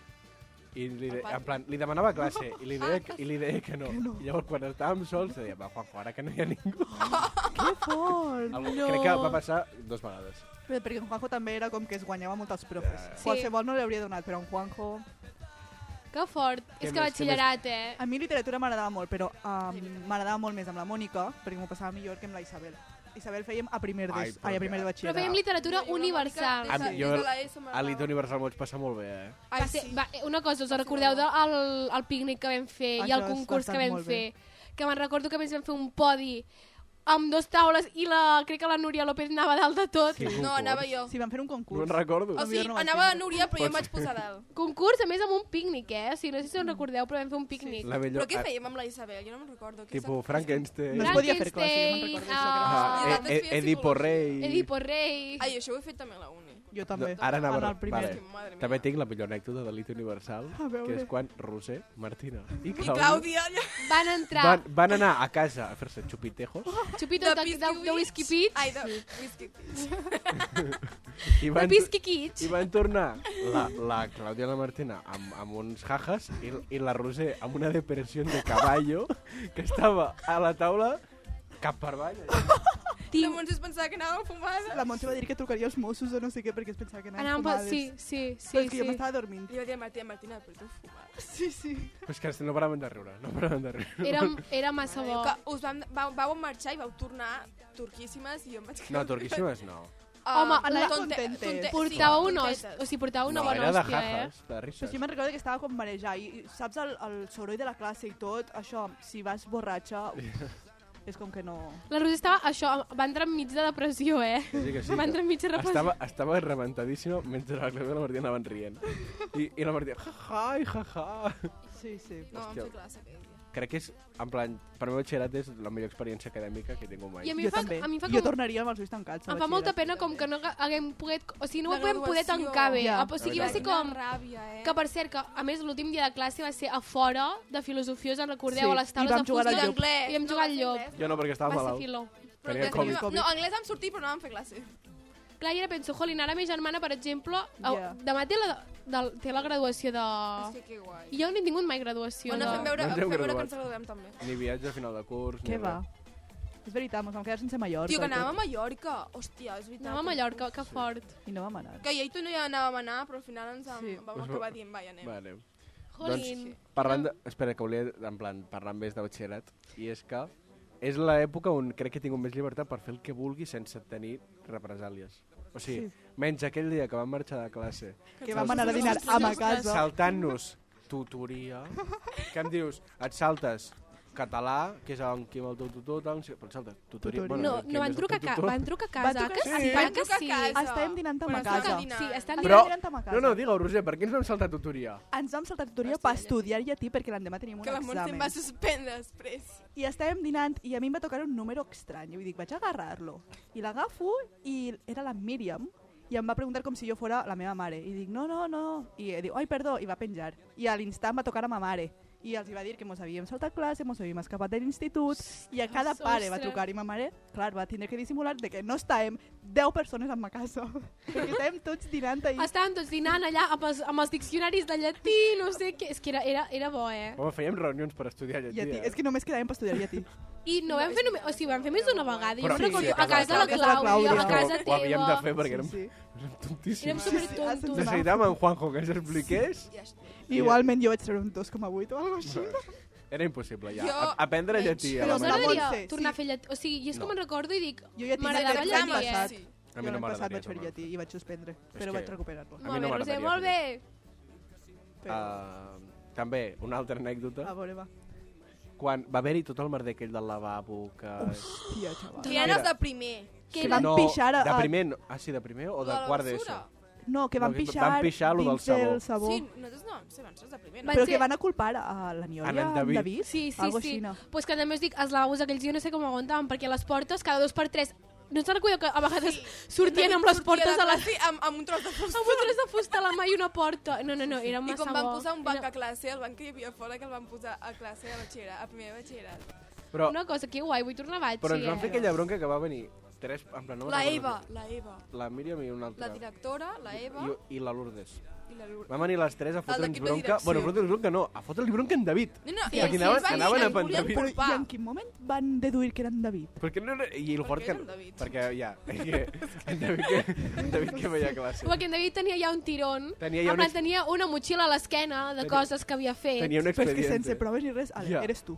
i li de, Apa. en plan, li demanava classe i li deia, que, i li deia que, no. no. I llavors quan estàvem sols deia, va Juanjo, ara que no hi ha ningú. Que fort! Algú, Crec Ah, que va passar dues vegades. Bé, Perquè en Juanjo també era com que es guanyava molt els profes. Sí. Qualsevol no li hauria donat, però en Juanjo... Que fort. és que Què més, què més? batxillerat, eh? A mi literatura m'agradava molt, però um, m'agradava molt més amb la Mònica, perquè m'ho passava millor que amb la Isabel. Isabel fèiem a primer de, Ai, ai, però a primer de Però fèiem batxillerat. literatura Jo, jo, universal. Mònica, A mi- jo- des de la A ESO l'Ito m'agradava. Universal m'ho vaig passar molt bé, eh? Ai, va ser, sí. va, una cosa, us recordeu del el, el pícnic que vam fer i Això el ha concurs que estat vam molt fer? bé. Que me'n recordo que a més vam fer un podi amb dos taules i la, crec que la Núria López anava dalt de tot. Quin No, Oh, concurs. anava jo. Sí, van fer un No concurs. en recordo. O sigui, jo no vaig anava la tindre. Núria, però jo em vaig posar dalt. Concurs, a més, amb un pícnic, eh? O sigui, no sé si us en recordeu, però vam fer un pícnic. La millor... Però què fèiem amb la Isabel? Jo no me'n recordo. Ah, Què Tipo sap- Frankenstein. No es podia fer classe, jo me'n Frankenstein, recordo ah, Ah, I l'altre eh, feia eh, Edipo psicologia. Rei. Edipo Rei. Ai, això ho he fet també a la uni. Jo també. No, ara anava... En el primer. Vale. Que, madre meva. També tinc la millor anècdota de l'Ito Universal, A veure. que és quan Roser, Martina i I Clàudia, Clàudia, allà... Van entrar van, van anar a casa a fer-se xupitejos xupitos de, de, de, whisky pitch, Ai, de whisky pitch. i de van, whisky kitsch. i van tornar la, la Clàudia i la Martina amb, amb uns jajas i, i la Roser amb una depressió de caballo que estava a la taula cap per avall. [LAUGHS] La Tinc, Montse es pensava que anava fumada. La Montse va dir que trucaria els Mossos o no sé què perquè es pensava que anaven anàvem fumades. pel... Sí, sí, Però sí. és que jo sí. m'estava dormint. Li va dir a Martina, Martina, però tu fumes. [LAUGHS] Sí, sí. Però és que no paraven de riure, no paraven de riure. Era, era massa bo. Que us vam, vau, vau marxar i vau tornar turquíssimes i jo em vaig No, turquíssimes no. [LAUGHS] Ah, Home, la- contentes. tonte- Portava sí, un os, tontetes. o sigui, portava una no, bona era de hòstia, eh? jajas, de Però risses. sí, me'n recordo que estava com marejar i, i saps el, el soroll de la classe i tot, això, si vas borratxa, és com que no... La Roser estava, això, va entrar enmig de depressió, eh? Que sí, que [LAUGHS] sí, va que- entrar enmig de depressió. Estava, estava rebentadíssima mentre la Clàudia i la Martina anaven rient. I, i la Martina, ja, ja, i ja, ja. Sí, sí. No, vam Hòstia. fer classe aquell dia. Crec que és, en plan, per mi batxillerat és la millor experiència acadèmica que he tingut mai. I a mi jo em fa, també. a mi em fa Jo com... tornaria amb els ulls tancats. a Em fa molta pena batxillerat. com que no haguem pogut... O sigui, no ho La vam poder graduació. tancar bé. Ja. O sigui, La va ser veritat. com... ràbia, eh? Que, per cert, que, a més, l'últim dia de classe va ser a fora de filosofia, us en recordeu, Sí, a les i taules vam de jugar fusta. al llop. Anglès. I vam jugar al no, llop. anglès. Jo no, perquè estava Va ser malalt. filó. Però Tenia anglès Covid. no- No, anglès vam sortir però no vam fer classe. Clar, i ara penso, jolín, ara ma germana, per exemple, au, Ja. Ah, demà té la, del- té la graduació de... Hòstia, que guai. Ah. I jo no he tingut mai graduació. Bueno, de- fem veure, No ens fem heu veure que graduat. ens saludem també. Ni viatge a final de curs, Què ni va? res. És veritat, mos vam quedar sense Mallorca. Tio, que i tot. anàvem a Mallorca. Hòstia, és veritat. Anàvem a Mallorca, que fort. I no vam anar. Que jo i tu no hi anàvem a anar, però al final ens vam, Sí. vam acabar dient, vai, anem. Vale. Doncs, Jolín. Parlant de... Espera, que volia, en plan, parlar més de batxillerat. I és que és l'època on crec que he tingut més llibertat per fer el que vulgui sense tenir represàlies. O sigui, menys aquell dia que vam marxar de classe, Que vam anar a dinar a ma casa. saltant-nos tutoria, que em dius, et saltes català, que és on qui amb el tutor, tal, no sé, però et saltes tutoria. Tutoria. Bueno, No, qui no, van més el trucar, ca, tutor. van trucar a casa. Van Que trucar a sí, casa. van que sí. Van Estàvem dinant a Quan ma estàvem casa. dinant. Sí, estan dinant. Però- Anirem a ma casa. No, no, digue-ho, Roser, per què ens vam saltar tutoria? Ens vam saltar tutoria per estudiar i a ti perquè l'endemà teníem un Que la Montse em examen. va suspendre després. I estàvem dinant i a mi em va tocar un número estrany. I dic, vaig a agarrar-lo. I l'agafo i era la Míriam. I em va preguntar com si jo fora la meva mare. I dic, no, no, no. I eh, diu, ai, perdó. I va penjar. I a l'instant va tocar a ma mare. I els hi va dir que mos havíem saltat classe, mos havíem escapat de l'institut. I a cada Ostres. pare va trucar. I ma mare, clar, va tindre que dissimular de que no estàvem 10 persones en ma casa. [LAUGHS] perquè estàvem tots dinant ahir. Estàvem tots dinant allà amb els, amb els diccionaris de llatí, no sé què. És que era, era, era bo, eh? Home, fèiem reunions per estudiar I a lletia. ti, és que només quedàvem per estudiar i a ti. I no, vam fer només... O sigui, vam fer més d'una vegada. Jo Però me'n recordo sí, a casa de a la casa de la Clàudia, Clàudia. a casa Ho havíem de fer teva. perquè érem, Sí, sí. érem tontíssims. Érem supertontos. Sí, sí, Necessitàvem en Juanjo que ens expliqués. Ja està. Igualment jo vaig treure un 2,8 o alguna cosa així. [LAUGHS] Era impossible, ja. Jo- A aprendre llatí. a Però la Us Home, mare. agradaria Montse, sí. tornar a fer llatí? O sigui, jo és que No. me'n recordo i dic... Jo ja tinc M'agradava aquest llatí, examen eh? passat. A mi jo no l'any passat vaig fer m'agradaria. idioti i vaig suspendre, que- però vaig recuperar-lo. mi Molt no bé, Roser, m'agradaria molt bé. Però... Uh, també, una altra A anècdota. veure, va. Quan va haver-hi tot el merder aquell del lavabo que... Hòstia, xaval. Que eren els de primer. Que Que era- van pixar a- De primer, no. ah, sí, de primer o de La quart basura. d'ESO? No, que No, van que van pixar, pixar lo del dins sabó. del sabó. Sí, nosaltres no vam ser avançats de primer. no? Van però ser- que van a culpar a la Niòria, En en en David. David. David. Sí, sí, Algo sí. així, no? Pues que també us dic, els lavabos aquells jo no sé com aguantaven, perquè les portes cada dos per tres... No se'n recordeu que a vegades [LAUGHS] sortien amb les Sortia portes de a la... classe Amb, amb un tros de fusta. Amb un tros de fusta [LAUGHS] a la mà i una porta. No, no, no, era I massa quan van bo. posar un Era banc a classe, el banc que hi havia fora, que el van posar a classe a batxillerat, a primer de batxillerat. Però, Una cosa, que guai, vull tornar a Batxi, però ens van fer eh? aquella bronca que va venir tres... En plan, no me'n La recordo Eva, qui. la Eva. La Míriam i una La altra. directora, la Eva, I, I la Lourdes. I la Lourdes. Vam venir les tres a fotre'ns l'equip de bronca. direcció. Bueno, fotre'ns bronca no, a fotre'ls bronca en David. No, no, Sí, sí, anaven, es van anaven dir, a ens volien Pandavit. portar. I en quin moment van deduir que eren David? Perquè no, era- I el Per fort què que... era en David? Perquè ja, [LAUGHS] que, en David que, en David que veia classe. Com que en David tenia ja un tirón. Tenia ja en una plan, ex- tenia una motxilla a l'esquena de Tenia- coses que havia fet. Tenia un Però és que expedient. sense proves ni res, Ale, Ja. eres tu.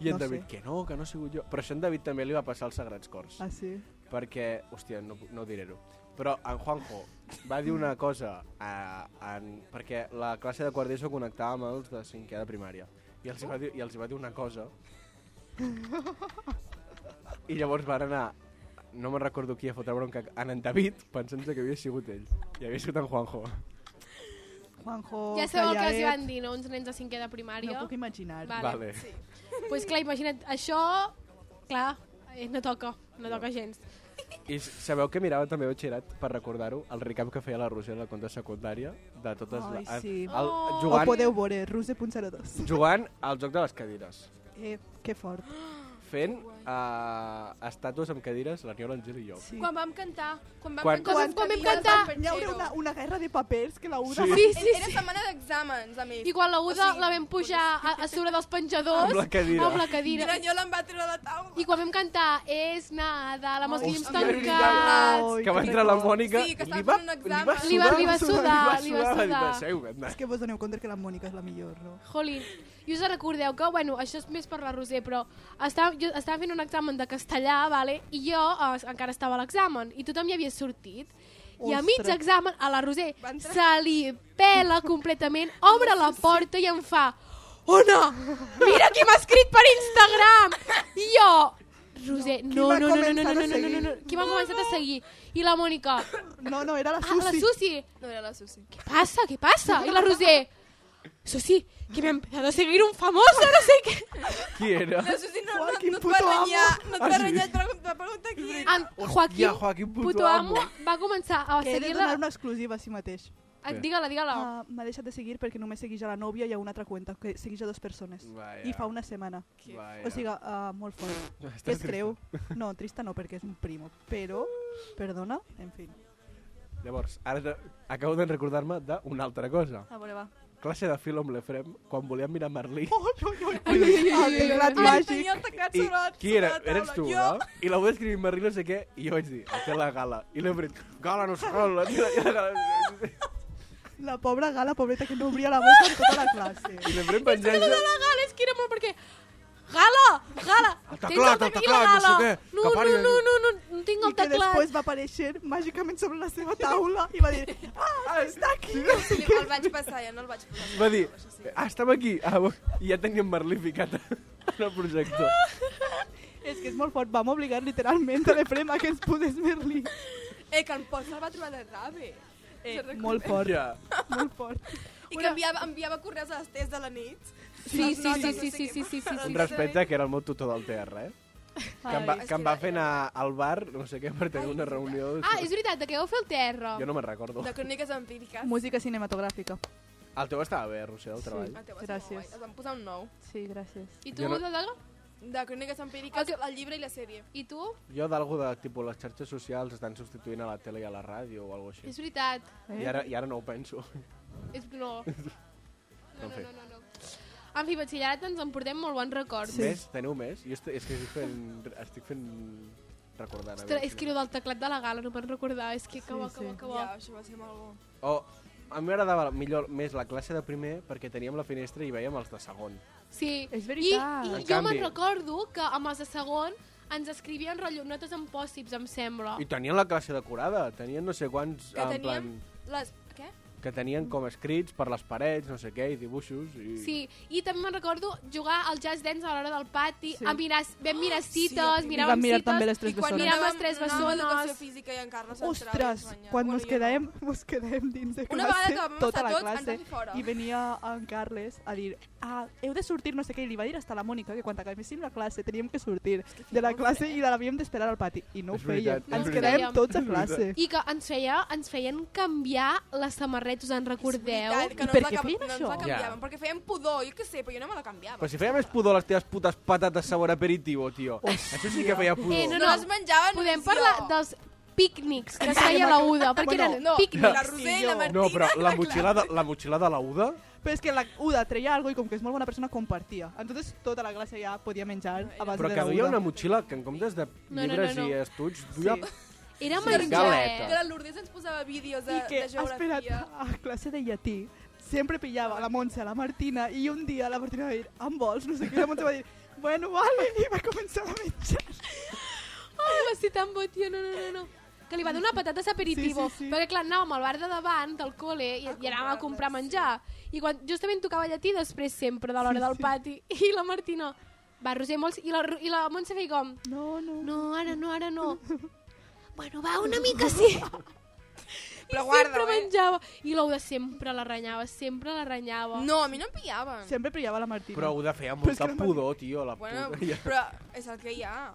I en no David, sé. que no, que no he sigut jo. Però això en David també li va passar als Sagrats Cors. Ah, sí? Perquè, hòstia, no, pu- no diré-ho. Però en Juanjo va dir una cosa a, en, perquè la classe de quart d'ESO connectava amb els de cinquè de primària. I els, hi va dir, I els hi va dir una cosa. I llavors van anar no me'n recordo qui a fotre bronca en en David pensant que havia sigut ell i havia sigut en Juanjo Juanjo, Ja sabeu el que els hi Callaet, van dir, no? Uns nens de cinquè de primària. Oh, No puc imaginar. Vale. vale. Sí. pues clar, imagina't, això... Clar, eh, no toca, no toca gens. I s- sabeu que mirava també batxillerat, per recordar-ho, el recap que feia la Roser en la conta secundària de totes Ai, la- sí. el, Oh. O jugant, podeu veure, ruse.02. jugant al joc de les cadires. Eh, que fort. Fent uh, estàtues amb cadires, la Niola, Angel i jo. Sí. Quan vam cantar. Quan vam Quan- cantar. Quan- quan vam cantar. Hi haurà una, una guerra de papers que la Uda... Sí. Sí, Sí, sí, Era sí. setmana d'exàmens, a més. I quan la Uda O sigui, la vam pujar a, a sobre dels penjadors... Amb la cadira. Amb la I cadira. Granyola em va treure la taula. I quan vam cantar És nada, amb els Hòstia, guims és veritat. tancats... Oi, que va que entrar la record. Mònica Sí, que i li estava va, fent un li va sudar, examen. Li va- li va sudar, li li va va sudar, li va sudar. "Seu, anda". És que vos doneu compte que la Mònica és la millor, no? Jolín, i us recordeu que, bueno, això és més per la Roser, però estava, jo estava fent un examen de castellà, vale? i jo eh, encara estava a l'examen, i tothom ja havia sortit, i a mig Ostres. examen a la Roser Va entrar. se li pela completament, obre la porta i em fa Ona, mira qui m'ha escrit per Instagram! I jo, Roser, no, m'ha no, no, no, no, començat no, a no, no, no, seguir? no, qui m'ha començat a seguir? I la Mònica, No, no, era la ah, la Susi. Susi, No era la Susi. ¿qué pasa? ¿Qué pasa? Y la Rosé, eso sí, que me ha empezado a seguir un famoso, no sé [LAUGHS] qué. Qui era? [LAUGHS] La Susi no, Uah, no, quin no et va puto amo. renyar, no et Ah, va sí? renyar, et va et va preguntar qui era. En Joaquim, Hòstia, Joaquim, puto amo, amo. va començar a Que he de donar seguir-la. una exclusiva a si mateix. Ah, Digue-la, digue-la. Uh, M'ha deixat de seguir perquè només segueix a la nòvia i a una altra cuenta, que segueix a dues persones. Vaya. I fa una setmana. Vaya. O sigui, uh, molt fort. Està Que es trist. creu. No, trista no, perquè és un primo. Però, perdona, en [LAUGHS] fi. Llavors, ara de- acabo de recordar-me d'una altra cosa. A veure, va. Classe de filo amb l'Efrem, quan volíem mirar Merlí. Oh, El teclat Ai, màgic. tenia el teclat I sobre la qui era? sobre la Eres tu, taula. no? I la vaig escriure Merlí no sé què, i jo vaig dir, a fer la gala. I l'he fet, gala no s'agala, tira, tira, gala. La pobra gala, pobreta, que no obria la boca en tota la classe. I l'he fet És que no penjant-se. la gala, és que era molt perquè... Gala, gala, El tens teclat, el tec- i la teclat, no sé gala. què, No, que pari no, de- no, no, no, no tinc I el que teclat. després va aparèixer màgicament sobre la seva taula i va dir, ah, està aquí. Sí, el vaig passar, ja no el vaig passar. Va dir, ah, estava aquí. Ah, bo- I ja tenia en Merlí ficat en el projector. És que és molt fort, vam obligar literalment a l'Efrem a que ens posés Merlí. Eh, que el Pol se'l va trobar de rave. Eh, Molt fort, Ja. molt fort. I que enviava, enviava correus a les 3 de la nit. Sí, Les sí, notes, sí, no sí, sé sí, què. sí, sí, sí. Un respecte que era el meu tutor del TR, eh? Que em va, que em va fer anar al bar, no sé què, per tenir una reunió. Ah, és veritat, de què vau fer el terra? Jo no me'n recordo. De cròniques empíriques. Música cinematogràfica. El teu estava bé, Roser, el treball. El teu va ser molt Gràcies. guai. Es van posar un nou. Sí, gràcies. I tu, Jo no- de Daga? De cròniques empíriques, El teu- el llibre i la sèrie. I tu? Jo d'algo de tipus les xarxes socials estan substituint a la tele i a la ràdio o alguna cosa És així. veritat. I ara, I ara no ho penso. És... No. No, [LAUGHS] no, En fi. no, no, no. En fi, batxillerat ens en portem molt bons records. Sí. Més? Teniu més? Jo est és que estic fent... Estic fent... Recordant. a Ostres, veure és que quina- el del teclat de la gala no me'n recordar. És que que bo, Sí, que bo, sí. que bo. Ja, això va ser molt bo. O a mi m'agradava millor més la classe de primer perquè teníem la finestra i veiem els de segon. Sí. És I, veritat. i En jo me'n canvi- recordo que amb els de segon ens escrivien rotllo, notes en pòssips, em sembla. I tenien la classe decorada, tenien no sé quants... Que en teníem les... Què? plan, que tenien com escrits per les parets, no sé què, i dibuixos. I... Sí, i també me'n recordo jugar al jazz dance a l'hora del pati, Sí. sí. a mirar, vam mirar cites, sí. sí, miràvem vam mirar cites, també les tres I quan bessones. miràvem anàvem- les tres anàvem a Educació bessones. física i en Carles entrava i Ostres, ens banyava. quan Bueno, mos jo quedàvem, mos quedàvem dins de eh? Una vegada classe, que vam tota estar la tots, classe, ens vam fer fora. i venia en Carles a dir, ah, heu de sortir, no sé què, i li va dir hasta la Mònica que quan acabéssim la classe teníem que sortir de la classe i l'havíem d'esperar al pati, i no ho És veritat, feia, és ens veritat. quedàvem tots a classe. I que ens, feia, ens feien canviar les samarretes, us en És veritat recordeu? que no per ens la què cam- feien no ens això? la Ja. canviaven, perquè feien pudor, jo què sé, però jo no me la canviava. Però si feia més pudor les teves putes patates sabor aperitivo, tio. Això sí que feia pudor. Eh, no, no, no les menjaven Podem només parlar jo. dels pícnics que es feia la UDA, perquè Bueno, eren No, pícnics. la Roser i la Martina... No, però la clar. motxilada, la motxilada a la UDA... Però és que la Uda treia algo i com que és molt bona persona, compartia. Entonces tota la classe ja podia menjar a base Però de que la duia Uda. una motxilla que en comptes de no, llibres no, i no. estuig, duia... Sí. Era Sí, menjar, Galeta. que eh? la Lourdes ens posava vídeos de, I que, de geografia. espera't, a classe de llatí sempre pillava la Montse, la Martina, i un dia la Martina va dir, em vols? No sé què, i la Montse va dir, bueno, vale, i va començar a menjar. Ai, va ser tan bo, tio, no, no, no, no. Que li va donar patates aperitivo. Sí, sí, sí. Perquè, clar, anàvem al bar de davant del col·le i, i anàvem a comprar menjar. I quan justament tocava llatí després sempre de l'hora del pati. [LAUGHS] I la Martina, va, Roser, molts... I la, Ru- I la Montse feia com, No, no. no, ara no, ara no. Bueno, va, una mica sí. sempre Però guarda, eh? menjava. I l'Ouda sempre la renyava, sempre la renyava. No, a mi no em pillaven. Sempre pillava la Martina. Però ho de fer amb Però és molta que no m'ha- pudor, tio, la Bueno, puta. Ja. però és el que hi ha.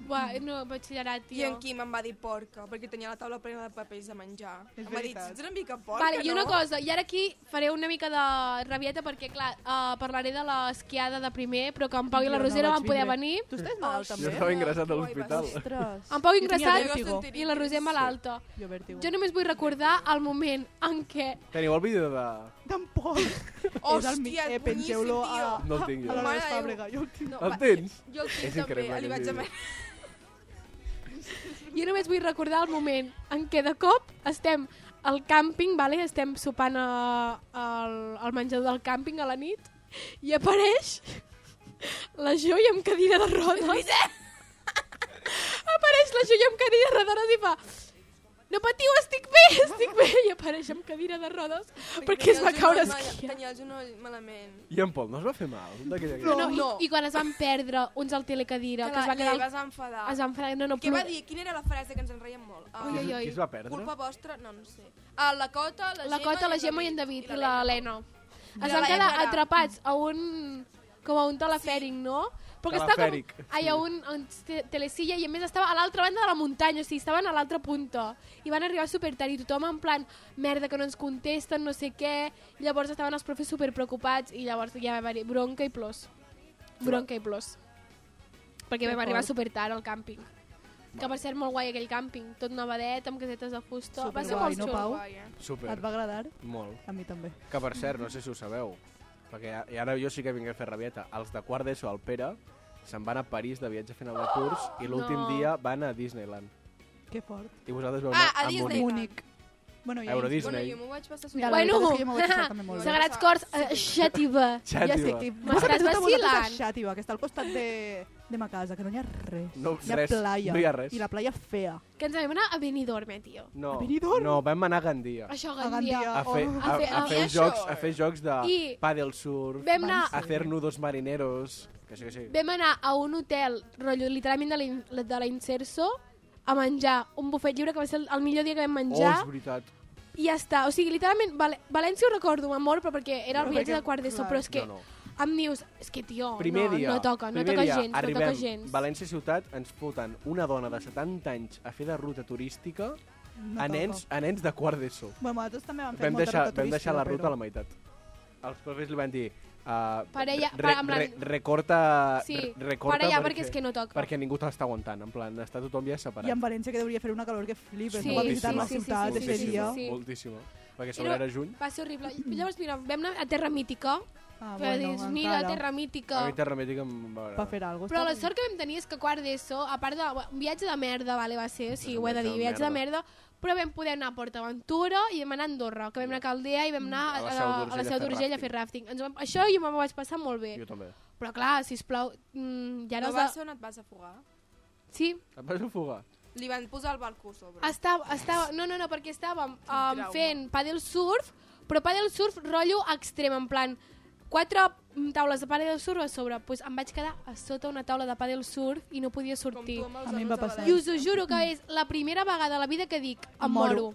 Buah, no, batxillerat, tio. I en Quim em va dir porca, perquè tenia la taula plena de papers de menjar. És em va dir, veritat. ets una mica porca, Vale, i una no? cosa, i ara aquí faré una mica de rabieta perquè, clar, uh, parlaré de l'esquiada de primer, però que en Pau i la Jo no Rosera vaig van poder venir. vindre. Tu estàs malalt, Oh, també? Jo estava ingressat a Ai, l'hospital. vas. Ostres. En Pau Jo tenia ingressat vèrtigo. i la Roser malalta. Jo vèrtigo. Jo només vull recordar el moment en què... Teniu el vídeo de... Tampoc. Hòstia, eh, és pengeu-lo boníssim, a, tio. No el tinc jo. a l'hora Mare de de Fàbrega. Jo el tinc. No, El va, tens? Jo el tinc És també, increïble, li aquest vaig vídeo. demanar. Jo només vull recordar el moment en què de cop estem al càmping, vale? estem sopant a, al, al menjador del càmping a la nit i apareix la Joia amb cadira de rodes. apareix la Joia amb cadira de rodes i fa... No patiu, estic bé, estic bé. I apareix amb cadira de rodes perquè es va caure esquiar. Tenia el genoll malament. I en Pol no es va fer mal? D'aquella No. No, No. i, I quan es van perdre uns al telecadira, que, la- es va quedar... li El, vas enfadar. es van fer... No, no, Què va plor- dir? Quina era la frase que ens en reiem molt? Ah, Ui, ui, ui. Qui es va perdre? Culpa vostra? No, no sé. Ah, la Cota, la, la Gemma Cota, la el Gemma i en David i l'Helena. l'Helena. Es I van la quedar Helena. atrapats a un... com a un telefèric, no? Però que Telefèric. estava com... Ai, a un, a un te- telecilla i a més estava a l'altra banda de la muntanya, o sigui, estaven a l'altra punta. I van arribar super tard i tothom en plan, merda, que no ens contesten, no sé què. Llavors estaven els profes super preocupats i llavors ja va haver bronca i plors. Bronca i plors. Perquè vam arribar super tard al càmping. Que va ser molt guai aquell càmping, tot nevadet, amb casetes de fusta. va ser Superguai, molt no, xulo. Pau? Guai, eh? Super. Et va agradar? Molt. A mi també. Que per cert, no sé si ho sabeu, perquè a- i ara jo sí que vinc a fer rabieta. Els de quart d'ESO, el Pere, se'n van a París de viatge a final de curs i l'últim No. dia van a Disneyland. Que fort. I vosaltres veu Ah, a anar Disney. Múnich. Múnec. Bueno, ja. Euro Bueno, Disney. jo m'ho vaig passar Mira, super la Bueno, veritat és que jo me [LAUGHS] vaig passar també molt bé. Sagrats Corts, eh, xàtiva. Xàtiva. Ja sé que tota M'estàs vacilant. Xàtiva, que està al costat de, de ma casa, que no hi ha res. No, hi ha res. playa. No hi ha res. I la playa fea. Que ens vam anar a Benidorm, eh, tio. No, A Benidorm? no, vam anar a Gandia. Això, A Gandia. A fer, Oh. a, A fer- a, a- fer I jocs, això. a fer jocs de I- paddle surf, Vam anar, a fer nudos marineros... Que sí, que sí. vam anar a un hotel, rotllo, literalment de la, in- de la Inserso, a menjar un bufet lliure, que va ser el, el millor dia que vam Oh, és menjar, veritat. i ja està. O sigui, literalment, Val València ho recordo, m'amor, però perquè era el No, viatge perquè- de quart d'ESO, clar. però és que No, no. em dius, és que, tio, Primer Oh, no, dia, no toca, no primer toca dia, gens, no arribem, toca gens. València ciutat, ens foten una dona de 70 anys a fer de ruta turística No a nens, a nens de quart d'ESO. Bueno, nosaltres també vam fer Vam molta deixar, ruta vam deixar la turística, ruta a la meitat. Els profes li van dir... Uh, Parella- re, en plan- re, recorta, Sí, re- recorta para allà perquè és que no toca. perquè ningú te l'està aguantant, en plan, està tothom ja però- separat. I en València que deuria fer una calor que flipes, Sí, no? Va visitar sí, la sí, sí, ciutat, sí, sí, ese sí, dia. sí. moltíssima. Perquè a sobre era juny. Va ser horrible. Llavors, mira, vam anar a Terra Mítica, Ah, que dius, mira, Terra A Mítica... mi Terra Mítica em va Va agradar. fer alguna cosa. Però la sort que vam tenir és que quart d'ESO, a part de un viatge de merda, vale, va ser, sí, És un ho he de viatge dir, de viatge de merda, però vam poder anar a PortAventura i vam anar a Andorra, que vam anar a Caldea i vam anar A a, la a, Seu la- a d'Urgell la a Seu fer d'Urgell a fer rafting. Ens vam, això jo m'ho vaig passar molt bé. Jo també. Però clar, sisplau, mm, ja no, no No vas ser on et vas afogar? Sí, Et vas ofegar? Li van posar el balcó a sobre. estava, estava, no, no, no, perquè estàvem um, trauma. fent paddle surf, però paddle surf rotllo extrem, en plan, quatre mm, taules de paddle surf a sobre, doncs em vaig quedar a sota una taula de paddle surf i no podia Com sortir. tu amb els A mi em va anons de passar. I València. us ho juro que és la primera vegada a la vida que dic, em moro. Moro.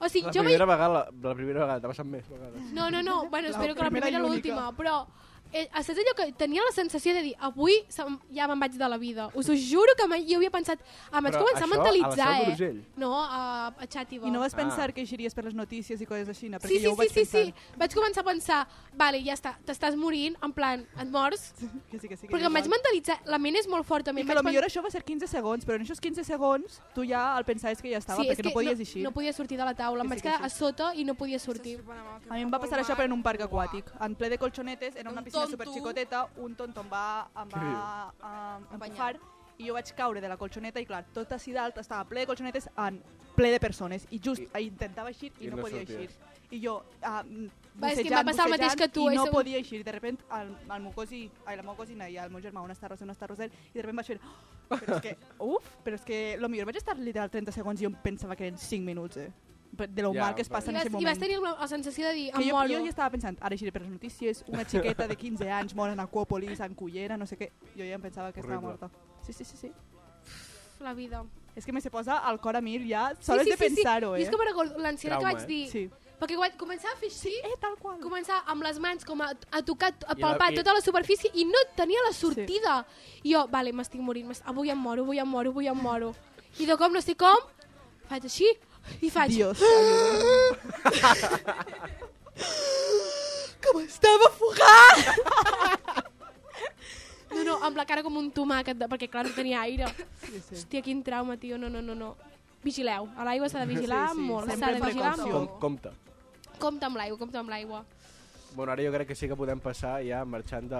O sigui, La jo vaig... primera vegada, la, la primera vegada, t'ha passat més vegades. No, no, no, bueno, La espero que la primera primera i i única. l'última, però eh, saps allò que tenia la sensació de dir avui se'm- ja me'n vaig de la vida. Us ho juro que mai jo havia pensat... Em vaig Però començar a això a la mentalitzar, Seu eh? d'Urgell? No, a, a Xàtiva. I no vas Ah. pensar que eixiries per les notícies i coses així, no? perquè Sí, sí, jo ho sí, vaig sí, sí. pensar. [LAUGHS] Vaig començar a pensar, vale, ja està, t'estàs morint, en plan, et mors. Que sí, que sí, que Perquè jo em vaig vaig- mentalitzar, la ment és molt forta. a mi I em que vaig potser això va ser 15 segons, però en aquests 15 segons tu ja el pensaves que ja estava, és perquè que no podies eixir. No podia sortir de la taula, Que em sí, vaig que quedar sí. a sota i no podia sortir. A mi em va passar això però en un parc aquàtic, en ple de colxonetes, era una Un piscina tonto. superxicoteta, un tonto em va, em Què va em, empufar i jo vaig caure de la colxoneta i clar, tot així dalt estava ple de colxonetes en ple de persones i just I, intentava eixir i, i no, no podia sorties. eixir. I jo um, Va, és que em va passar el mateix que tu, i és no un- podia eixir. De repent el, el meu cosí, ai, la meva cosina i el meu germà, una està rosent, una està rosent, i de repent vaig fer... "Oh, Però és [LAUGHS] que, uf, però és que lo millor vaig estar literal 30 segons i jo em pensava que eren 5 minuts, eh? De lo Ja, mal que es però- passa I en vas, aquest moment. I vas tenir la, la sensació de dir, Que em jo, moro. jo ja estava pensant, ara giré per les notícies, [LAUGHS] una xiqueta de 15 anys mor en Aquòpolis, en Cullera, no sé què. Jo ja em pensava que estava Horrible. morta. Sí, sí, sí, sí. La vida. És que me se posa al cor a mir ja, soles de pensar-ho, I eh? és que me'n recordo l'ansietat que Trauma, vaig eh? dir. Sí. Perquè quan començava a fer així, Eh, tal qual. començar amb les mans com a, a tocar, a I la- palpar i- tota la superfície i no tenia la sortida. I jo, vale, m'estic morint, m'est- avui em moro, avui em moro, avui em moro. I de com, no sé com, faig així i faig... Dios. Com estava fugat! No, no, amb la cara com un tomàquet, de, perquè clar, no tenia aire. Sí, sí. Hòstia, quin trauma, tio, no, no, no, no. Vigileu, a l'aigua s'ha de vigilar Sí, sí, molt, sempre s'ha de amb vigilar precaució. Com, molt. compte. Compte amb l'aigua, compte amb l'aigua. Bueno, ara jo crec que sí que podem passar ja marxant de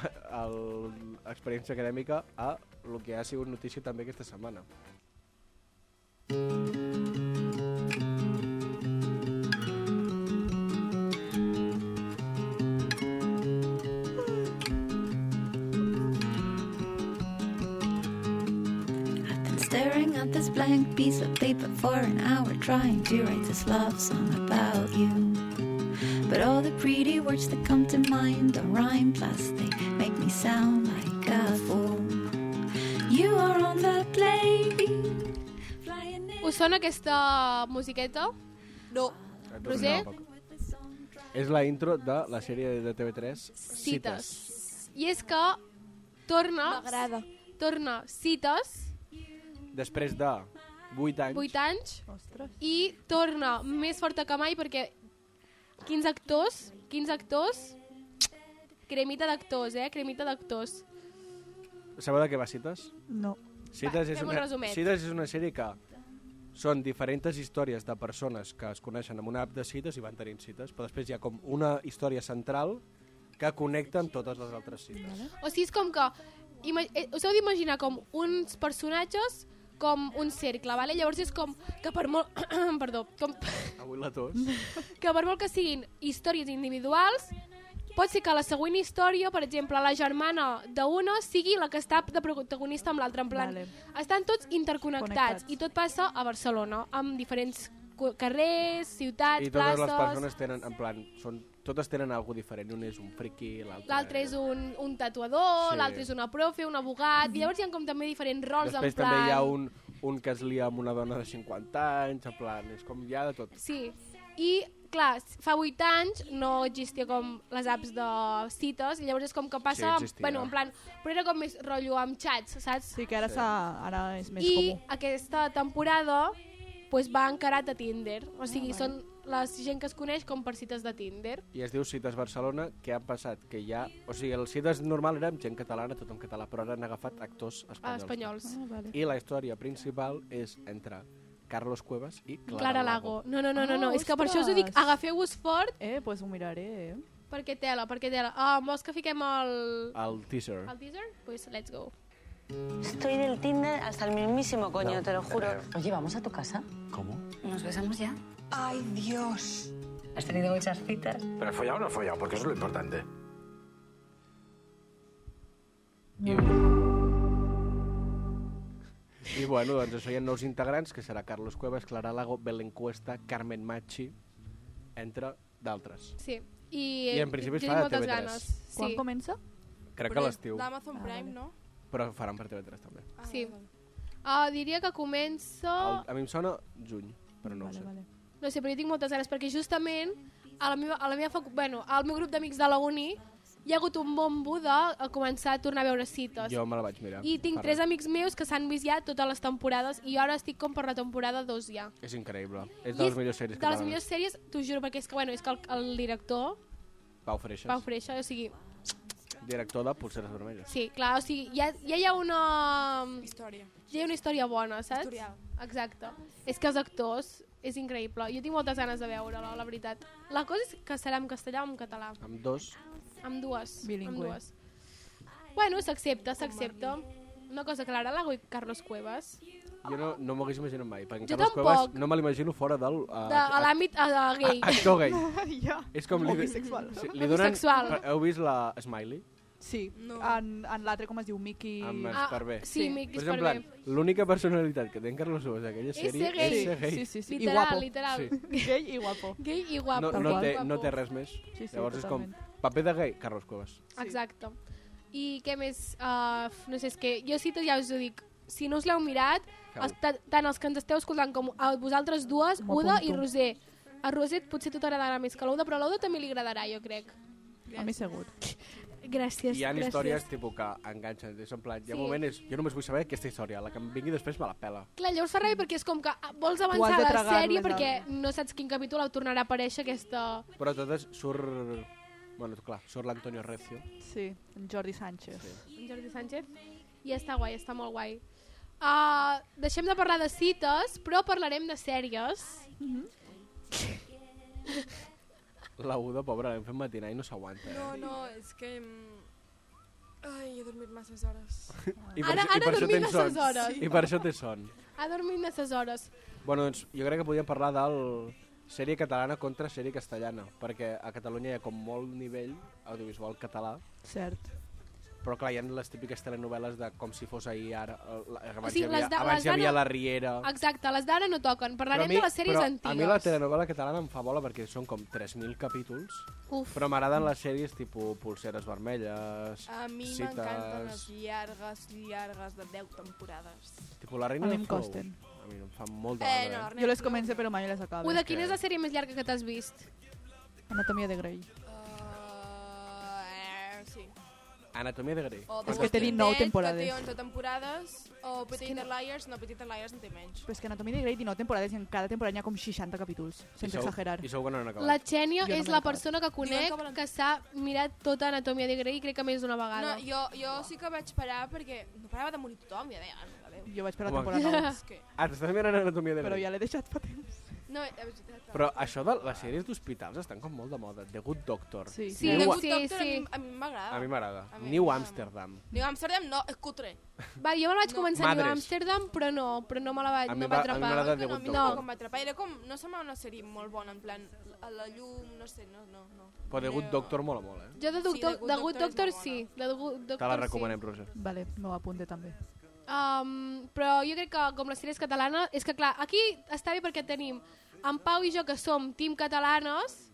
[LAUGHS] a l'experiència acadèmica a el que ha sigut notícia també aquesta setmana. I've been staring at this blank piece of paper for an hour, trying to write this love song about you. But all the pretty words that come to mind don't rhyme, plus they make me sound like a fool. You are on the plane, flying in. Us sona aquesta musiqueta? No, Roser? És la intro de la sèrie de TV3, Cites. I és que torna... m'agrada. Torna Cites, Després de 8 anys, 8 anys, Ostres. i torna més forta que mai perquè 15 actors, 15 actors, cremita d'actors, eh? Cremita d'actors. sabeu de què va Cites? No. Cites, fem és un una, resumet. Cites és una sèrie que són diferents històries de persones que es coneixen amb una app de cites i van tenint cites, però després hi ha com una història central que connecta amb totes les altres cites. O sigui, és com que... ima- eh, Us heu d'imaginar com uns personatges com un cercle, vale? llavors és com que per molt... [CLEARS THROAT] perdó, com, Avui la tos. que per molt que siguin històries individuals, pot ser que la següent història, per exemple, la germana d'una sigui la que està de protagonista amb l'altra, en plan... Vale. Estan tots interconnectats Connectats. i tot passa a Barcelona, amb diferents cu- carrers, ciutats, I totes places... les persones tenen, en plan, són, totes tenen alguna diferent. Un és un friki, l'altre... L'altre és un, un tatuador, Sí. Mhm. sí. l'altre és una profe, un abogat, i llavors hi ha com també diferents rols Després en plan... també hi ha un, un que es lia amb una dona de 50 anys, en plan, és com hi ha de tot. Sí, i clar, fa 8 anys no existia com les apps de cites, i llavors és com que passa... Sí, existia. bueno, en plan, però era com més rotllo amb xats, saps? Sí, que ara, s'ha... ara és més I comú. aquesta temporada pues, va encarat a Tinder, o Ah, sigui, són les gent que es coneix com per cites de Tinder. I es diu Cites Barcelona, que han passat, que hi ha... O sigui, el Cites normal era amb gent catalana, tot en català, però ara han agafat actors A espanyols. espanyols. Ah, vale. I la història principal és entre Carlos Cuevas i Clara, Clara Lago. No, no, no, no, no. Ah, és que per això us ho dic, ostres. agafeu-vos fort Eh, doncs pues ho miraré, eh? perquè tela, perquè tela. Ah, vols que fiquem el... El teaser. el teaser? Pues let's go. Estoy del Tinder hasta el mismísimo coño, te lo juro. Oye, vamos a tu casa. ¿Cómo? Nos besamos ya. Ay, Dios. Has tenido muchas citas. Pero he follado o no he follado, porque eso es lo importante. I bueno, doncs això hi ha nous integrants, que serà Carlos Cuevas, Clara Lago, Belén Cuesta, Carmen Machi, entre d'altres. Sí. I, I en principi es jo fa tinc a moltes TV3. ganes. Quan Sí. comença? Crec Però que és a l'estiu, D'Amazon Ah, Prime, no? però faran per TV3 també. Ah, Sí. vale. Ah, diria que comença... El, a mi em sona juny, però no ho vale, sé. vale. No sé, però jo tinc moltes ganes perquè justament a la meva, a la meva facu... bueno, al meu grup d'amics de la uni hi ha hagut un bombo de eh, començar a tornar a veure cites. Jo me la vaig mirar. I tinc Fa tres res. amics meus que s'han vist ja totes les temporades i jo ara estic com per la temporada 2 ja. És increïble. És I de les millors De les sèries catalanes. millors sèries, t'ho juro, perquè és que, bueno, és que el, el director, Pau Freixas, Pau Freixa, o sigui, director de Pulseres Vermelles. sí, clar, o sigui, ja, ja hi ha una... Història. Ja hi ha una història bona, saps? Historial. Exacte. És que els actors, és increïble. Jo tinc moltes ganes de veure-la, la veritat. La cosa és que serà en castellà o en català. Amb dos. Amb dues. Bilingüe. Amb dues. Bueno, s'accepta, s'accepta. Una cosa clara, Lago i Carlos Cuevas. Jo no, no m'ho hagués imaginat mai, perquè en Jo Carles tampoc. Cuevas no me l'imagino fora del... Uh, De, a l'àmbit eh, de gay. a- actor [LAUGHS] gay. [LAUGHS] ja. És com li, Homosexual. sí, li donen... Homosexual. Heu vist la Smiley? Sí, no. en, en l'altre, com es diu, Mickey... Amb Ah, Esparvé. sí, Mickey Però és en plan, L'única personalitat que té en Carlos Cuevas d'aquella És sèrie ser gay. és ser gay. Sí, sí, sí. Literal, I guapo. [LAUGHS] literal. Sí. Gay i guapo. Gay i guapo. No, no, té, no té res més. Sí, sí, Llavors totalment. és com, paper de gay, Carlos Cuevas. Exacte. I què més? Uh, f- no sé, és que jo cites, ja us ho dic, si no us l'heu mirat, Feu-ho. els, ta- tant els que ens esteu escoltant com a vosaltres dues, Uda i apunto. Roser. A Roser potser a tu t'agradarà més que a l'Uda, però a l'Uda també li agradarà, jo crec. A mi segur. Gràcies, Hi ha gràcies. històries tipus que enganxen, és en plan, hi ha Sí. un moment és, jo només vull saber aquesta història, la que em vingui després me la pela. Clar, llavors fa ràbia perquè és com que ah, vols has avançar de la tragar-les sèrie al- perquè no saps quin capítol et tornarà a aparèixer aquesta... Però a totes surt... Bueno, clar, surt l'Antonio Recio. Sí, en Jordi Sánchez. Sí. en Jordi Sánchez i està guai, està molt guai. Uh, deixem de parlar de cites, però parlarem de sèries. La Uda, pobra, l'hem fet matinar i no s'aguanta. Eh? No, no, és que... mm, Ai, he dormit masses hores. I per, Ara- això- i ara per això dormim tens a ses son. hores. I per això té son. Ha dormit masses hores. Bueno, doncs jo crec que podíem parlar del sèrie catalana contra sèrie castellana, perquè a Catalunya hi ha com molt nivell audiovisual català, Cert. però clar, hi ha les típiques telenovel·les de com si fos ahir, ara, eh, la- abans, sigui, hi havia, les de- les abans hi d'ara- havia La Riera... Exacte, les d'ara no toquen. Però a Parlarem mi- de les sèries però antigues. A mi la telenovela catalana em fa bola perquè són com 3.000 capítols, Uf. però m'agraden les sèries tipus Pulseres Vermelles, Ah. A mi Cites, m'encanten les llargues, llargues de 10 temporades. tipus La Reina A mi de em Flow. costen. A mi em fan molt de Eh, gana, no, Jo les comencé, però mai les acabo. Uda, quina és la sèrie més llarga que t'has vist? Doncs Anatomia de Grey. Uh, sí. Anatomia de Grey. O Oh, És The que té Walking 19 Dead, que temporades. té 11 temporades. O Petit Liars, no, Petit Liars en té menys. Però és que Anatomia de Grey 19 temporades i en cada temporada hi ha com 60 capítols, sense segur- exagerar. I segur que no han acabat. La Xènia Jo no és me la l'acabat. persona que conec que volen- que s'ha mirat tota Anatomia de Grey, crec que més d'una No, vegada. jo, jo sí que vaig parar perquè no parava de morir tothom, ja deia, ah, no la veu. Jo vaig per la Home. [LAUGHS] temporada 9, És que... Ah, t'estàs mirant Anatomia de Grey. però ja l'he deixat fa temps. No, eh, és veritat, Però això de les sèries d'hospitals estan com molt de moda. The Good Doctor. Sí. Sí, New, Good sí, Doctor a sí. mi- a mi m'agrada. A mi m'agrada. A mi New m'agrada. Amsterdam. Diu, Amsterdam no, és cutre. Va, jo me la vaig començar a Madres. mirar a Amsterdam, però no, però no me la vaig, A mi no va- va a mi atrapar. m'agrada The no, a Good mi no, Doctor. com va atrapar. Era com, no semblava una sèrie molt bona, en plan, a la llum, no sé, no, no. no. Però The Good Doctor mola molt, eh? Jo de, doctor, Good de Good Doctor Doctor és sí. De Good Doctor Te la sí. recomanem, Roser. Vale, m'ho apunte també. Um, però jo crec que com les sèries catalanes... És que clar, aquí està bé perquè tenim en Pau i jo que som team catalanes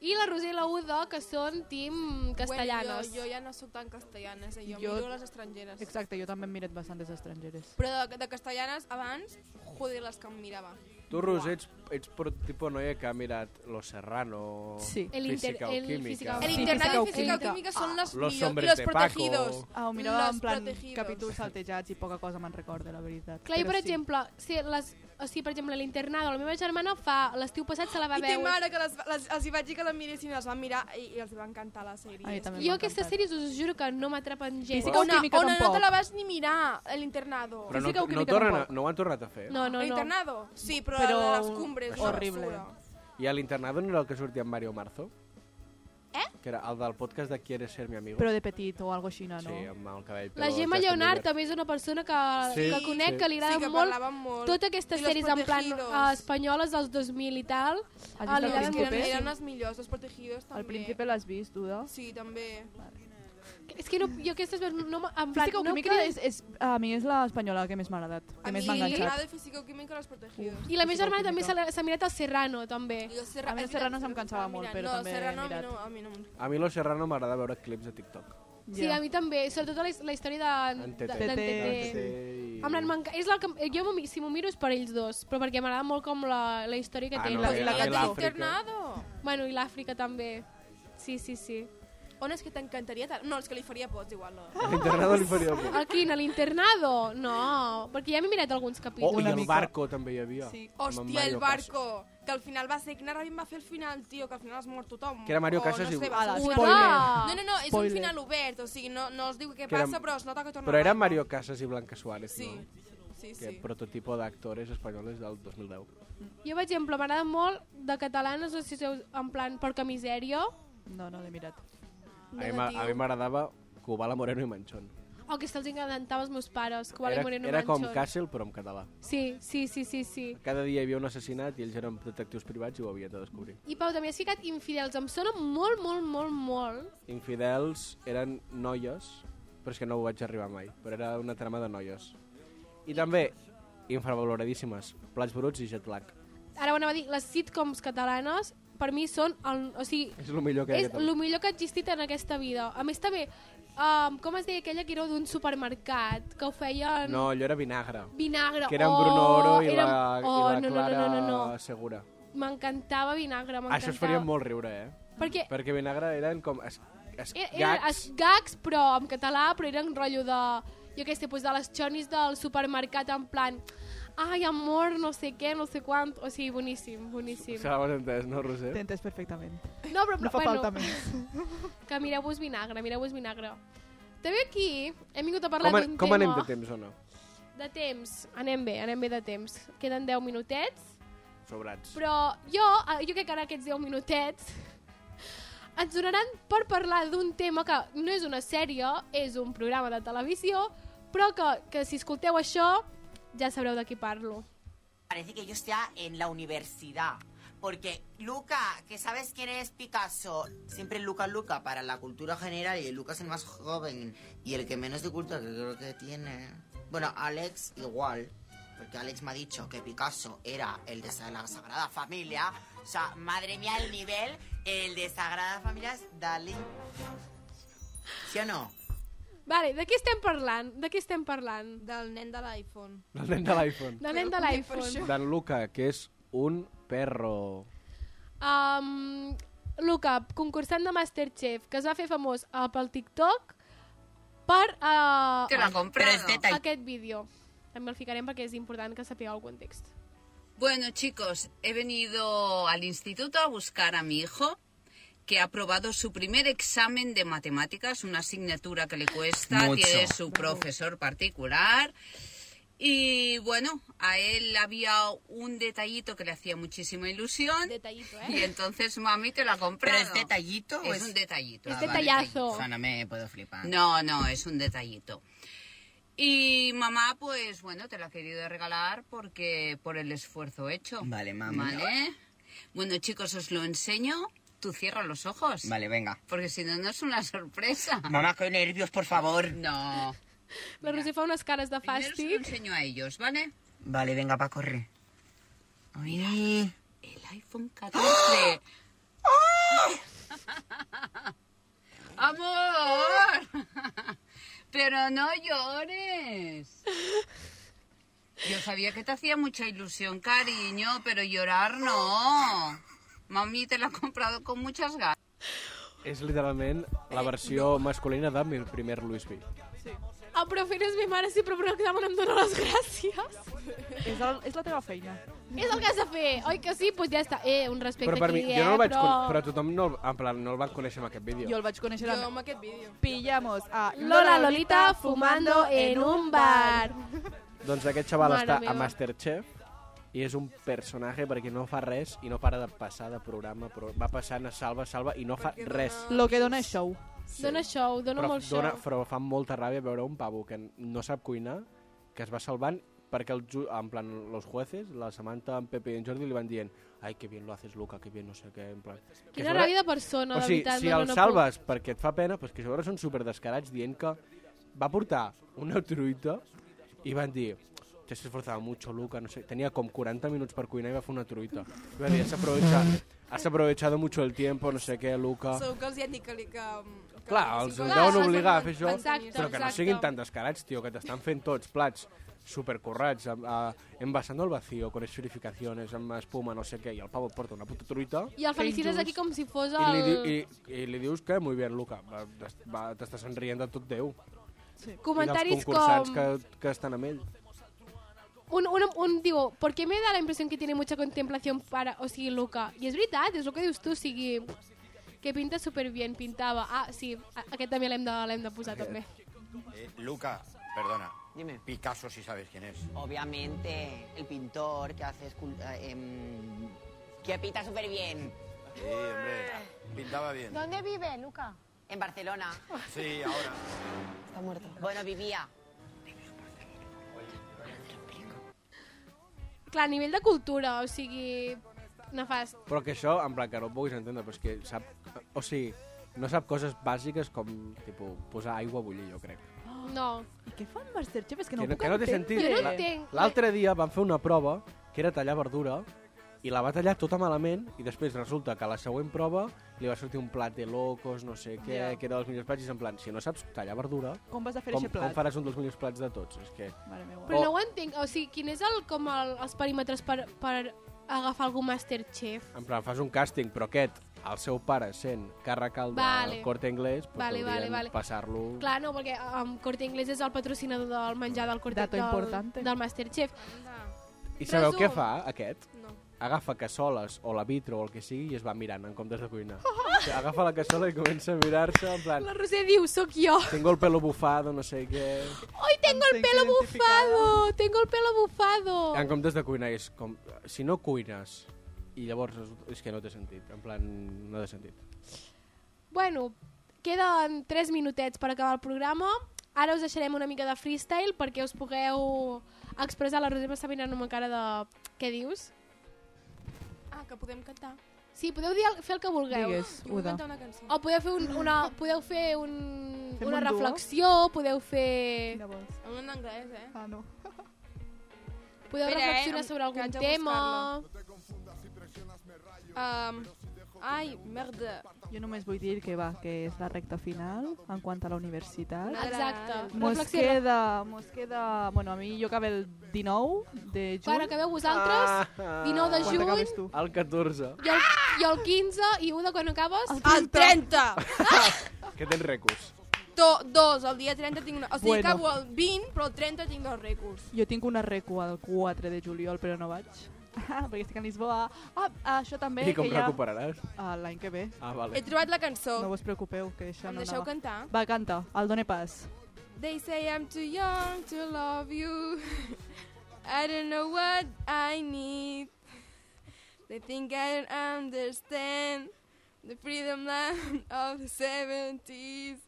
i la Roser i la Uda que són team castellanes. Bueno, jo, jo ja no sóc tan castellanes, eh? jo, Jo- jo miro les estrangeres. Exacte, jo també he mirat bastantes estrangeres. Però de, de castellanes, abans, joder, les que em mirava. Tu, Roser, ets, ets pro, tipo noia que ha mirat Los Serrano, Sí. El inter- Física el o Química... física o El Sí, internat i física física o o química són les Ah, Los millors. hombres I los de protegidos. Paco. Ah, ho mirava Los en plan protegidos. capítols saltejats i poca cosa me'n recordo, la veritat. Clar, jo, Però per sí. exemple, si les, o sigui, per exemple, l'internado, la meva germana fa l'estiu passat se la va I té veure. mare que les, les, els hi vaig dir que les miressin, les van mirar i, i els va encantar la sèrie. A mi també Jo m'ha aquestes encantat. sèries us juro que no m'atrapen gens. Física o Ona, química Ona, no te tampoc. la vas ni mirar, l'internado. Però no, Física o no, química tornen a, tampoc. no ho han tornat a fer. No, no, no. L'internado? Sí, però, Però la de les cumbres. és una horrible. basura. I a l'internado no era el que sortia en Mario Marzo? Eh? Que era el del podcast de Quieres ser mi amigo. Però de petit o algo així, no? Sí, amb el cabell. La però Gemma Justin Lleonard Bieber. també és una persona que, Sí, que conec, sí. que li agrada sí, que molt parlaven molt. totes aquestes I Los sèries en plan Protegidos. eh, espanyoles dels 2000 i tal. Has Ah, vist li el agraden Eren, príncipe? eren les millors, els protegidos també. El príncipe l'has vist, Duda? Sí, també. És que no, jo aquestes veus no, no, en plan, Física o no química és, és, a mi és la espanyola que més m'ha agradat, que més mi m'ha m'agrada enganxat. el físico-química i los protegidos. I la meva Física o germana també química. se l'ha- s'ha mirat el Serrano, també. Jo Serra- A mi és el Serrano veritat, se'm cansava molt, mirant. però no, també he Serrano a mi mirat. no, a mi no. m'agrada. A mi Los Serrano m'agrada veure clips de TikTok. Sí, a mi també, sobretot la, his- la història de- En de- TT. d'en TT. Tete. Sí. En plan, m'enca- és la que, jo, m'ho mi- si m'ho miro, és per ells dos, però perquè m'agrada molt com la, la història que Ah, té. no, la- i la- I i l'Àfrica. l'Àfrica. internado. Bueno, i l'Àfrica també. Sí, sí, sí. On és que t'encantaria tant? No, els que li faria por, és igual. No. A l'internado li faria por. El quin, a l'internado? No, perquè ja m'he mirat alguns Oh, capítols. i el barco també hi havia. Sí. Hòstia, el barco! Que al final va ser... Quina ràbia em va fer el final, tio? Que al final es mor tothom. Que era Mario O Casas no i- Sé, va ser Ala, un final- spoiler. No, no, no, és Spoiler. un final obert. O sigui, no, no es diu què Que era- passa, però es nota que torna Però eren blanc. Mario Casas i Blanca Suárez, Sí, no? sí, Que sí. prototipo d'actores espanyoles del 2010. Jo, per exemple, m'agrada molt de catalanes, no sé si us- en plan, porca misèria, No, no l'he mirat. A mi m'a- a mi m'agradava Cubala Moreno i Manchón. o que se'ls encantava als meus pares, que volen Era, morir en un era com manxón. Castle, però en català. Sí, sí, sí, sí, sí. Cada dia hi havia un assassinat i ells eren detectius privats i ho havien de descobrir. I Pau, també has ficat infidels. Em sona molt, molt, molt, molt. Infidels eren noies, però és que no ho vaig arribar mai, però era una trama de noies. I també, infravaloradíssimes, Plats Bruts i Jet Lag. Ara ho anava a dir, les sitcoms catalanes per mi són... El, o sigui, És el millor que hi ha és a el Catalunya. millor que ha existit en aquesta vida. A més, també, um, com es deia aquella que era d'un supermercat, que ho feien No, allò era vinagre. vinagre. Que eren oh, Bruno Oro i, eren- la, oh, i la no, Clara No, no, no, no, no. Segura. M'encantava vinagre, m'encantava. Això es faria molt riure, eh? Perquè e- Perquè vinagre eren com es, es era, era gags. es gags, però en català, però eren rotllo de... Jo què sé, pues, de les xonis del supermercat en plan... Ai, amor, no sé què, no sé quant... O sigui, boníssim, boníssim. Se l'havien entès, no, T'he Roser? entès perfectament. No, però, No però fa falta [LAUGHS] bueno, més. que mireu-vos vinagre, mireu-vos vinagre. També aquí hem vingut a parlar Com, d'un an- tema... com anem de temps o no? De temps. Anem bé, anem bé de temps. Queden 10 minutets, Sobrats. però jo, eh, jo crec que ara aquests 10 minutets [LAUGHS] ens donaran per parlar d'un tema que no és una sèrie, és un programa de televisió, però que, que si escolteu això ja sabreu de qui parlo. Parece que yo estoy en la universidad. Porque Luca, que sabes quién es Picasso, siempre Luca Luca para la cultura general y Luca es el más joven y el que menos de cultura que creo que tiene. Bueno, Alex igual, porque Alex me ha dicho que Picasso era el de la Sagrada Familia. O sea, madre mía, el nivel, el de Sagrada Familia es Dalí. ¿Sí o no? Vale, de què estem parlant? De què estem parlant? Del nen de l'iPhone. El nen de l'iPhone. De nen de Però, per l'iPhone. D'en Luca, que és un perro. Um, Luca, concursant de Masterchef, que es va fer famós uh, pel TikTok per uh, Te lo han comprado. aquest vídeo. També el ficarem perquè és important que sapigueu el context. Bueno, chicos, he venido al instituto a buscar a mi hijo que ha aprobado su primer examen de matemáticas, una asignatura que le cuesta, Mucho. tiene su profesor particular. Y bueno, a él había un detallito que le hacía muchísima ilusión. Detallito, Y eh? entonces mami te lo ha comprado. ¿Pero es pues detallito o Es es- Ah, un detallito. Es detallazo. O sea, no me puedo flipar. No, no, es un detallito. Y mamá, pues bueno, te lo ha querido regalar porque por el esfuerzo hecho. Vale, mamá. Vale. Bueno, chicos, os lo enseño. Tú cierra los ojos. Vale, venga. Porque si no, no es una sorpresa. Mamá, qué nervios, por favor. No. La Roser fa unes cares de Primero os lo fàstic. enseño a ellos, ¿vale? Vale, venga, para correr. Ay. El iPhone 14. [LAUGHS] ¡Amor! [LAUGHS] Pero no llores. Yo sabía que te hacía mucha ilusión, cariño, pero llorar no. Mami te lo ha comprado con muchas ganas. És literalment la versió masculina de mi primer Luis B. El profe és mi mare, sí, Ah, però per examen em dóna les gràcies. És, el, és la teva feina. és el que has de fer, oi que sí? Doncs pues ja està. Eh, un respecte Però per mi, aquí, eh? jo no el vaig però... con- però tothom no, el- en plan, no el van conèixer en aquest vídeo. Jo el vaig conèixer Jo amb... amb aquest vídeo. Pillamos a Lola Lolita fumando en un bar. Doncs aquest xaval Mare està meva. a Masterchef i és un personatge perquè no fa res i no para de passar de programa, però va passant a salva, salva i no fa res. Lo que dona és show. Dóna show, dóna Però, molt show. dona, però fa molta ràbia veure un pavo que no sap cuinar, que es va salvant perquè el, ju- en plan, los jueces, la Samantha, en Pepe i en Jordi li van dient ai, que bien lo haces, Luca, que bien no sé què, en plan... Que Quina sobre- ràbia de persona, o de sigui, veritat. si no, el no, no puc. salves perquè et fa pena, però és que a sobre són superdescarats dient que va portar una truita i van dir te has esforzado mucho, Luca, no sé, tenia com 40 minuts per cuinar i va fer una truita. I va dir, has aprovechado, has aprovechado mucho el tiempo, no sé què, Luca... Segur que els hi han dit que... li- que, que Ah. Clar, els sí, Clar, deuen els obligar a deuen- fer això, exacte, però que no exacte. siguin tan descarats, tio, que t'estan fent tots plats supercorrats, amb, a, envasando al vacío, con esferificaciones, amb espuma, no sé què, i el pavo porta una puta truita... I el felicites aquí com si fos I li, el... di, i, i li dius que, muy bien, Luca, va, des- va- t'estàs enrient de tot Déu. Sí. Comentaris I dels com- concursants que, que estan amb ell. Un, un, un digo, ¿por qué me da la impresión que tiene mucha contemplación para... O sigui, Luca, i és veritat, és el que dius tu, o sigui... Que pinta superbien, pintava. Ah, sí, a- aquest també l'hem de, l'hem de posar, també. Eh, Luca, perdona. Dime. Picasso si sabes quién es. Obviamente, el pintor que hace escul- eh, em, que pinta súper bien. Sí, hombre, pintaba bien. ¿Dónde vive, Luca? En Barcelona. Sí, ahora. Está muerto. Bueno, vivía. Clar, a nivell de cultura, o sigui... Nefast. Però que això, en plan, que no ho puguis entendre, però és que sap... O sigui, no sap coses bàsiques com, tipus, posar aigua a bullir, jo crec. No. I què fan Masterchef? És que no, que no, puc que no té sentit. entendre. La- L'altre dia van fer una prova que era tallar verdura i la va tallar tota malament i després resulta que a la següent prova li va sortir un plat de locos, no sé què, Ja. que era dels millors plats i és en plan, si no saps tallar verdura, Com vas a fer com, eixe plat? com faràs un dels millors plats de tots? És que... Mare meva. Però no ho entenc, o sigui, quin és el, com el, els perímetres per, per agafar algun Masterchef? En plan, fas un càsting, però aquest, el seu pare sent càrrec al Vale. del corte anglès, doncs Vale, vale, haurien vale. passar-lo... Clar, no, perquè um, Corte Inglés és el patrocinador del menjar del Corte Dato del, importante. del Masterchef. I sabeu Resum. què fa, aquest? No. Agafa cassoles o la vitro o el que sigui i es va mirant en comptes de [LAUGHS] cuinar. O sigui, Agafa la cassola i comença a mirar-se en plan... La Roser diu, sóc jo. Tengo el pelo bufado, no sé què... Hoy tengo el pelo bufado, tengo el pelo bufado. En comptes de cuinar és com... Si no cuines i llavors resulta- és que no té sentit. En plan, no té sentit. Bueno, queden 3 minutets per acabar el programa. Ara us deixarem una mica de freestyle perquè us pugueu expressar. La Roser m'està mirant amb una cara de... Què dius? Ah, que podem cantar. Sí, podeu dir el, fer el que vulgueu. Digues, Jo vull Uda. cantar una cançó. O podeu fer, un, una, podeu fer un, Fem una un duo? reflexió, podeu fer... Un en anglès, eh? Ah, no. Podeu Espera, eh, reflexionar em- sobre que algun haig de tema. Um, ai, merda. Jo només vull dir que va, que és la recta final en quant a la universitat. Exacte. Mos Reflexió. queda, mos queda... Bueno, a mi jo acabé el 19 de juny. Quan acabeu Ah. vosaltres, 19 de Quan acabes juny, tu? El 14. i el, i el 15, i un de quan acabes? El 30! [LAUGHS] Ah! Que tens recurs. Do, dos, el dia 30 tinc una... O sigui, Bueno. acabo el 20, però el 30 tinc dos recurs. Jo tinc una recua el 4 de juliol, però no vaig. [LAUGHS] perquè estic a Lisboa. Ah, això també, I com que ja... recuperaràs? Ah, L'any que ve. Ah, He vale. trobat la Oh. cançó. No vos preocupeu, que això Em no deixeu anava. cantar? Va, canta, el done pas. They say I'm too young to love you. I don't know what I need. They think I don't understand the freedom land [LAUGHS] of the 70s.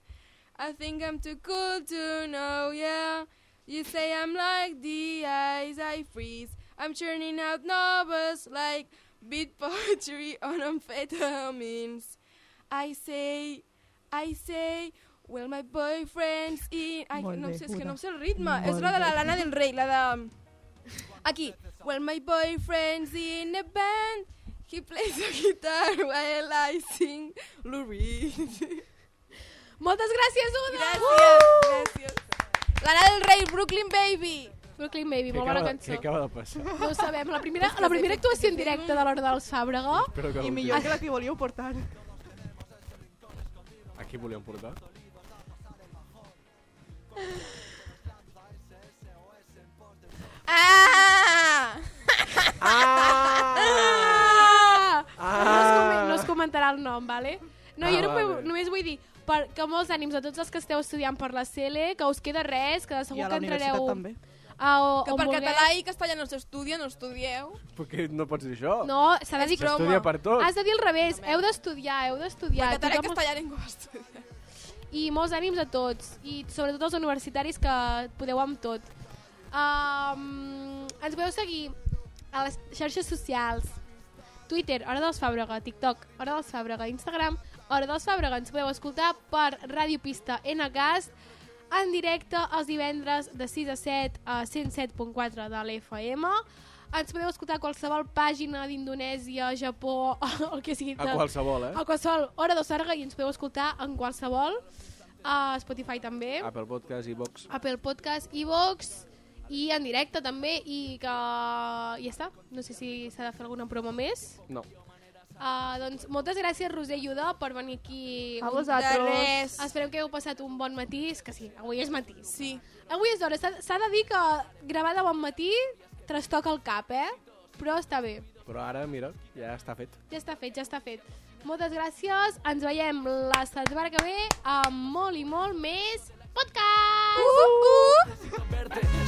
I think I'm too cool to know, yeah. You say I'm like the ice I freeze. I'm churning out novels like beat poetry [LAUGHS] on amphetamines. I say, I say, well my boyfriend's in... Ai, Molt no bé, sé, és que Buda. no sé el ritme. és Molt la de la bé. Lana del Rei, la de... um, Aquí. Well, my [LAUGHS] boyfriend's in a band. He plays the guitar while I sing Lou Reed. Moltes gràcies, Uda! Gràcies, gràcies. L'Anna del Rei, Brooklyn Baby. Brooklyn Baby, Què molt bona acaba, cançó. què acaba de passar? No ho sabem, la primera, la primera actuació en directe de l'Hora del Sàbrega. Espero que I l'última. millor que la que volíeu portar. A qui volíem portar? Ah! Ah! No, es comen- no es Ah! comentarà el nom, vale? No, Ah, jo no vale. vull, només vull dir per, que molts ànims a tots els que esteu estudiant per la CL, que us queda res, que segur I a que la entrareu... universitat també. A, o, Que on per vulgueu. català i castellà no s'estudia, no estudieu. Perquè no pots dir això. No, s'ha de dir... S'estudia per tot. Has de dir al revés, heu d'estudiar, heu d'estudiar. Per català i Tothom- castellà ningú estudia. i molts ànims a tots i sobretot als universitaris que podeu amb tot um, ens podeu seguir a les xarxes socials Twitter, Hora dels Fàbrega, TikTok, Hora dels Fàbrega, Instagram, Hora dels Fàbrega. Ens podeu escoltar per Ràdio Pista NCAS en directe els divendres de 6 a 7 a 107.4 de l'FM. Ens podeu escoltar a qualsevol pàgina d'Indonèsia, Japó, [LAUGHS] el que sigui. A de- qualsevol, eh? A qualsevol Hora dels Fàbrega i ens podeu escoltar en qualsevol. A Spotify també. Apple Podcast i Vox. Apple Podcast, Evox i en directe també i que ja està, no sé si s'ha de fer alguna promo més No. Uh, doncs moltes gràcies Roser Lluda per venir aquí A vosaltres. De res. esperem que heu passat un bon matí és que sí, avui és matí sí. avui és d'hora, s'ha s'ha de dir que gravar de bon matí trastoca el cap eh? però està bé Però ara, mira, ja està fet. ja està fet, ja està fet. Moltes gràcies, ens veiem la setmana que ve amb molt i molt més podcast!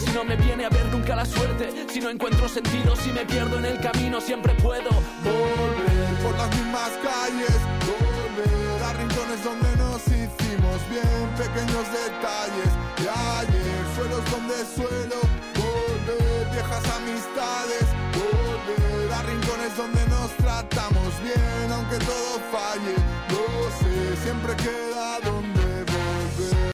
Si no me viene a ver nunca la suerte, si no encuentro sentido, si me pierdo en el camino, siempre puedo volver por las mismas calles. volver a rincones donde nos hicimos bien pequeños de